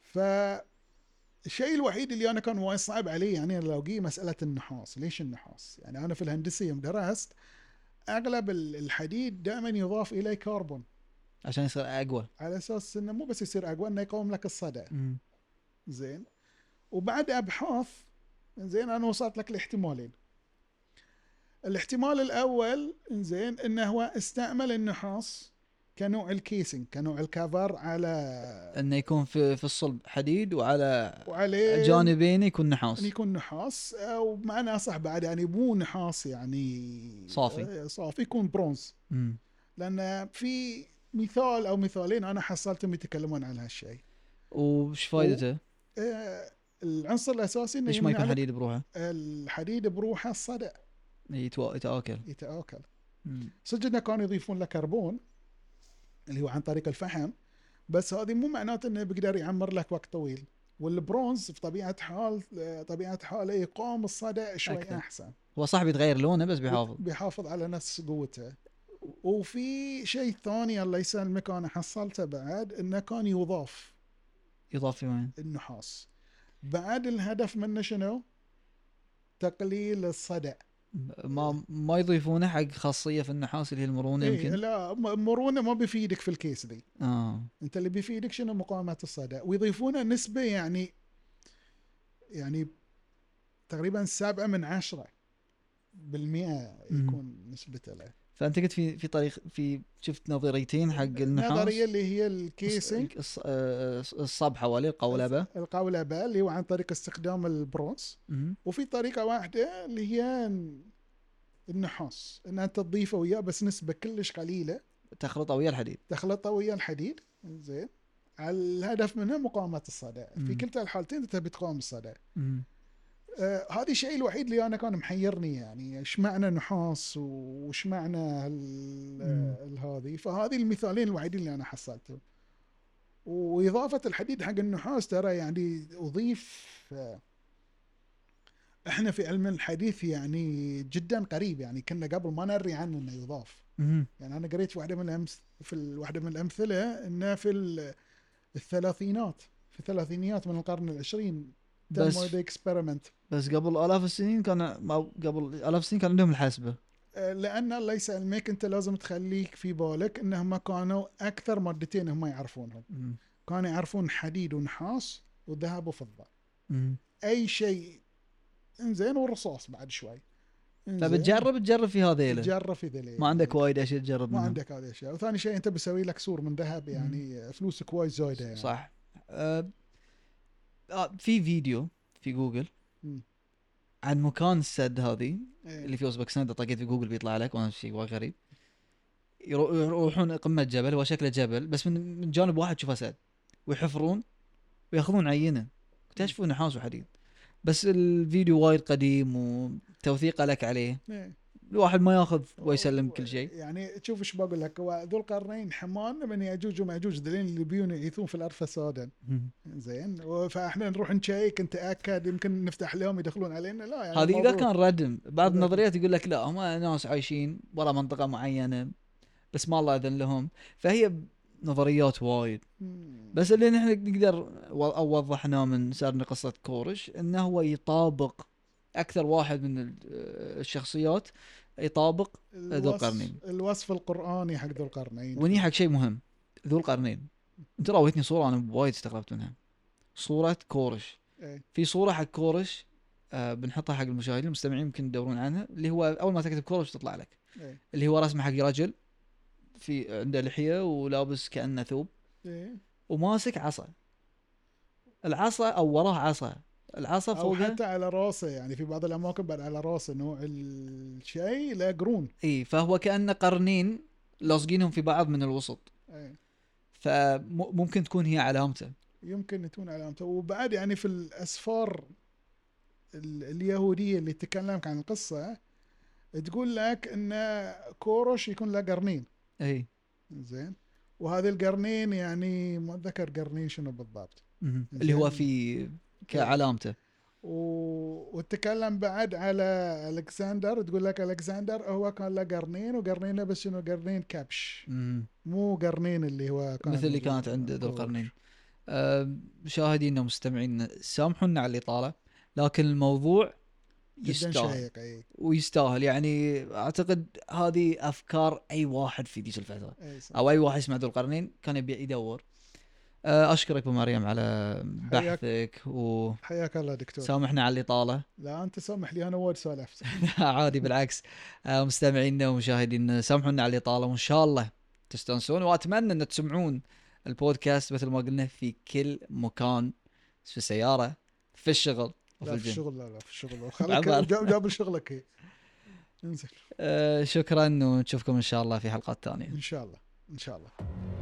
Speaker 2: ف الشيء الوحيد اللي انا كان وايد صعب علي يعني الاقيه مساله النحاس، ليش النحاس؟ يعني انا في الهندسه يوم درست اغلب ال- الحديد دائما يضاف اليه كربون
Speaker 1: عشان يصير اقوى
Speaker 2: على اساس انه مو بس يصير اقوى انه يقاوم لك الصدى، زين؟ وبعد ابحاث زين انا وصلت لك الاحتمالين. الاحتمال الاول زين انه هو استعمل النحاس كنوع الكيسنج، كنوع الكفر على
Speaker 1: انه يكون في في الصلب حديد وعلى
Speaker 2: وعليه
Speaker 1: جانبين يكون
Speaker 2: أن
Speaker 1: نحاس
Speaker 2: يكون نحاس ومعناه صح بعد يعني مو نحاس يعني
Speaker 1: صافي.
Speaker 2: آه، صافي يكون برونز
Speaker 1: مم.
Speaker 2: لان في مثال او مثالين انا حصلتهم يتكلمون عن هالشيء
Speaker 1: وش فائدته؟
Speaker 2: آه، العنصر الاساسي انه
Speaker 1: ليش ما
Speaker 2: يمنع
Speaker 1: يكون
Speaker 2: لك-
Speaker 1: حديد بروحه؟
Speaker 2: الحديد بروحه الصدأ
Speaker 1: يتوا- يتآكل
Speaker 2: يتآكل
Speaker 1: مم.
Speaker 2: صدق انه كانوا يضيفون له كربون اللي هو عن طريق الفحم بس هذه مو معناته انه بيقدر يعمر لك وقت طويل والبرونز بطبيعه حال آه، طبيعه حاله يقاوم الصدأ شوي
Speaker 1: أكثر.
Speaker 2: احسن
Speaker 1: هو صح بيتغير لونه بس بيحافظ
Speaker 2: بيحافظ على نفس قوته وفي شيء ثاني الله يسلمك انا حصلته بعد انه كان يضاف
Speaker 1: يضاف في وين؟
Speaker 2: النحاس بعد الهدف منه شنو؟ تقليل الصدأ
Speaker 1: ما ما يضيفونه حق خاصيه في النحاس اللي هي المرونه
Speaker 2: إيه
Speaker 1: يمكن
Speaker 2: لا م- مرونه ما بيفيدك في الكيس دي
Speaker 1: اه
Speaker 2: انت اللي بيفيدك شنو مقاومه الصدأ ويضيفونه نسبه يعني يعني تقريبا سبعة من عشرة بالمئة
Speaker 1: مم.
Speaker 2: يكون نسبته له
Speaker 1: فانت قلت في في طريق في شفت نظريتين حق النحاس
Speaker 2: النظرية اللي هي
Speaker 1: الص-
Speaker 2: الكيسنج
Speaker 1: الص- آه، الصب حواليه القولبه
Speaker 2: القولبة اللي هو عن طريق استخدام البرونز
Speaker 1: مم.
Speaker 2: وفي طريقة واحدة اللي هي النحاس ان انت تضيفه وياه بس نسبة كلش قليلة
Speaker 1: تخلطه ويا الحديد
Speaker 2: تخلطه ويا الحديد زين الهدف منها مقاومة الصدأ في
Speaker 1: مم.
Speaker 2: كلتا الحالتين انت بتقاوم الصدأ
Speaker 1: مم.
Speaker 2: آه هذا الشيء الوحيد اللي انا كان محيرني يعني ايش معنى نحاس وايش معنى هال-
Speaker 1: مم.
Speaker 2: آه، هذه فهذه المثالين الوحيدين اللي انا حصلتهم واضافه الحديد حق النحاس ترى يعني اضيف آه، احنا في علم الحديث يعني جدا قريب يعني كنا قبل ما نري عنه انه يضاف
Speaker 1: مم.
Speaker 2: يعني انا قريت في واحده من الأمث... في ال- واحده من الامثله انه في ال- الثلاثينات في الثلاثينيات من القرن العشرين تم
Speaker 1: بس
Speaker 2: هذا اكسبيرمنت
Speaker 1: بس قبل آلاف السنين كان أو قبل آلاف السنين كان عندهم الحاسبة
Speaker 2: لان الله يسلمك انت لازم تخليك في بالك انهم كانوا اكثر مادتين هم يعرفونهم
Speaker 1: مم.
Speaker 2: كانوا يعرفون حديد ونحاس وذهب وفضه
Speaker 1: مم.
Speaker 2: اي شيء انزين والرصاص بعد شوي إنزين.
Speaker 1: فبتجرب طيب، تجرب في هذيله
Speaker 2: تجرب في ذليل
Speaker 1: ما عندك وايد اشياء تجرب
Speaker 2: ما
Speaker 1: منها
Speaker 2: عندك هذه الاشياء وثاني شيء انت بسوي لك سور من ذهب يعني فلوسك وايد زايده يعني
Speaker 1: صح آه آه، في فيديو في جوجل
Speaker 2: مم.
Speaker 1: عن مكان السد هذه
Speaker 2: إيه.
Speaker 1: اللي في اوزبكستان اذا طقيت في جوجل بيطلع لك وانا شيء وايد غريب يرو- يروحون قمه جبل هو شكله جبل بس من من جانب واحد تشوفه سد ويحفرون وياخذون عينه اكتشفوا نحاس وحديد بس الفيديو وايد قديم وتوثيقه لك عليه
Speaker 2: إيه.
Speaker 1: الواحد ما ياخذ ويسلم كل شيء
Speaker 2: يعني تشوف ايش بقول لك هو ذو القرنين حمان من ياجوج وماجوج ذلين اللي بيون يعيثون في الارض فسادا زين و- فاحنا نروح نشيك نتاكد يمكن نفتح لهم يدخلون علينا لا يعني
Speaker 1: هذه اذا
Speaker 2: الموضوع-
Speaker 1: كان ردم بعض
Speaker 2: ردم.
Speaker 1: النظريات يقول لك لا هم ناس عايشين برا منطقه معينه بس ما الله اذن لهم فهي نظريات وايد
Speaker 2: مم.
Speaker 1: بس اللي نحن نقدر و- او وضحناه من سردنا قصه كورش انه هو يطابق اكثر واحد من ال- آه، الشخصيات يطابق ذو
Speaker 2: الوصف-
Speaker 1: القرنين.
Speaker 2: الوصف القراني حق ذو القرنين
Speaker 1: وني حق شيء مهم ذو القرنين انت راويتني صوره انا وايد استغربت منها صوره كورش
Speaker 2: إيه.
Speaker 1: في صوره حق كورش آه بنحطها حق المشاهدين المستمعين يمكن يدورون عنها اللي هو اول ما تكتب كورش تطلع لك
Speaker 2: إيه.
Speaker 1: اللي هو رسمه حق رجل في عنده لحيه ولابس كانه ثوب
Speaker 2: إيه.
Speaker 1: وماسك عصا العصا او وراه عصا العصا
Speaker 2: او
Speaker 1: فوقها
Speaker 2: حتى على راسه يعني في بعض الاماكن بعد على راسه نوع الشيء لا قرون
Speaker 1: اي فهو كانه قرنين لاصقينهم في بعض من الوسط
Speaker 2: إيه.
Speaker 1: فممكن تكون هي علامته
Speaker 2: يمكن تكون علامته وبعد يعني في الاسفار ال- اليهوديه اللي تكلمك عن القصه تقول لك ان كورش يكون له قرنين
Speaker 1: اي
Speaker 2: زين وهذا القرنين يعني ما اتذكر قرنين شنو بالضبط
Speaker 1: مهم. اللي هو
Speaker 2: زين.
Speaker 1: في كعلامته
Speaker 2: وتتكلم بعد على الكسندر تقول لك الكسندر هو كان له قرنين وقرنينه بس انه قرنين كبش
Speaker 1: مم.
Speaker 2: مو قرنين اللي هو كان
Speaker 1: مثل اللي
Speaker 2: موجود.
Speaker 1: كانت عند ذو
Speaker 2: أوه.
Speaker 1: القرنين آه، مشاهدينا ومستمعينا سامحونا على الإطالة لكن الموضوع
Speaker 2: جدا
Speaker 1: يستاهل
Speaker 2: شيق اي
Speaker 1: ويستاهل يعني أعتقد هذه أفكار أي واحد في ذيك الفترة
Speaker 2: اي صح.
Speaker 1: او اي واحد يسمع ذو القرنين كان يبي يدور آه، اشكرك ابو مريم على
Speaker 2: حياك.
Speaker 1: بحثك وسامحنا
Speaker 2: حياك الله دكتور
Speaker 1: على الاطاله
Speaker 2: لا انت سامح لي انا وايد سولفت
Speaker 1: عادي بالعكس آه، مستمعينا ومشاهدينا سامحونا على الاطاله وان شاء الله تستانسون واتمنى ان تسمعون البودكاست مثل ما قلنا في كل مكان في السياره في الشغل وفي
Speaker 2: لا في
Speaker 1: الجيم
Speaker 2: الشغل لا لا في الشغل
Speaker 1: عبالة.
Speaker 2: خليك جاب جاب شغلك هي انزل
Speaker 1: آه، شكرا ونشوفكم ان شاء الله في حلقات ثانيه
Speaker 2: ان شاء الله ان شاء الله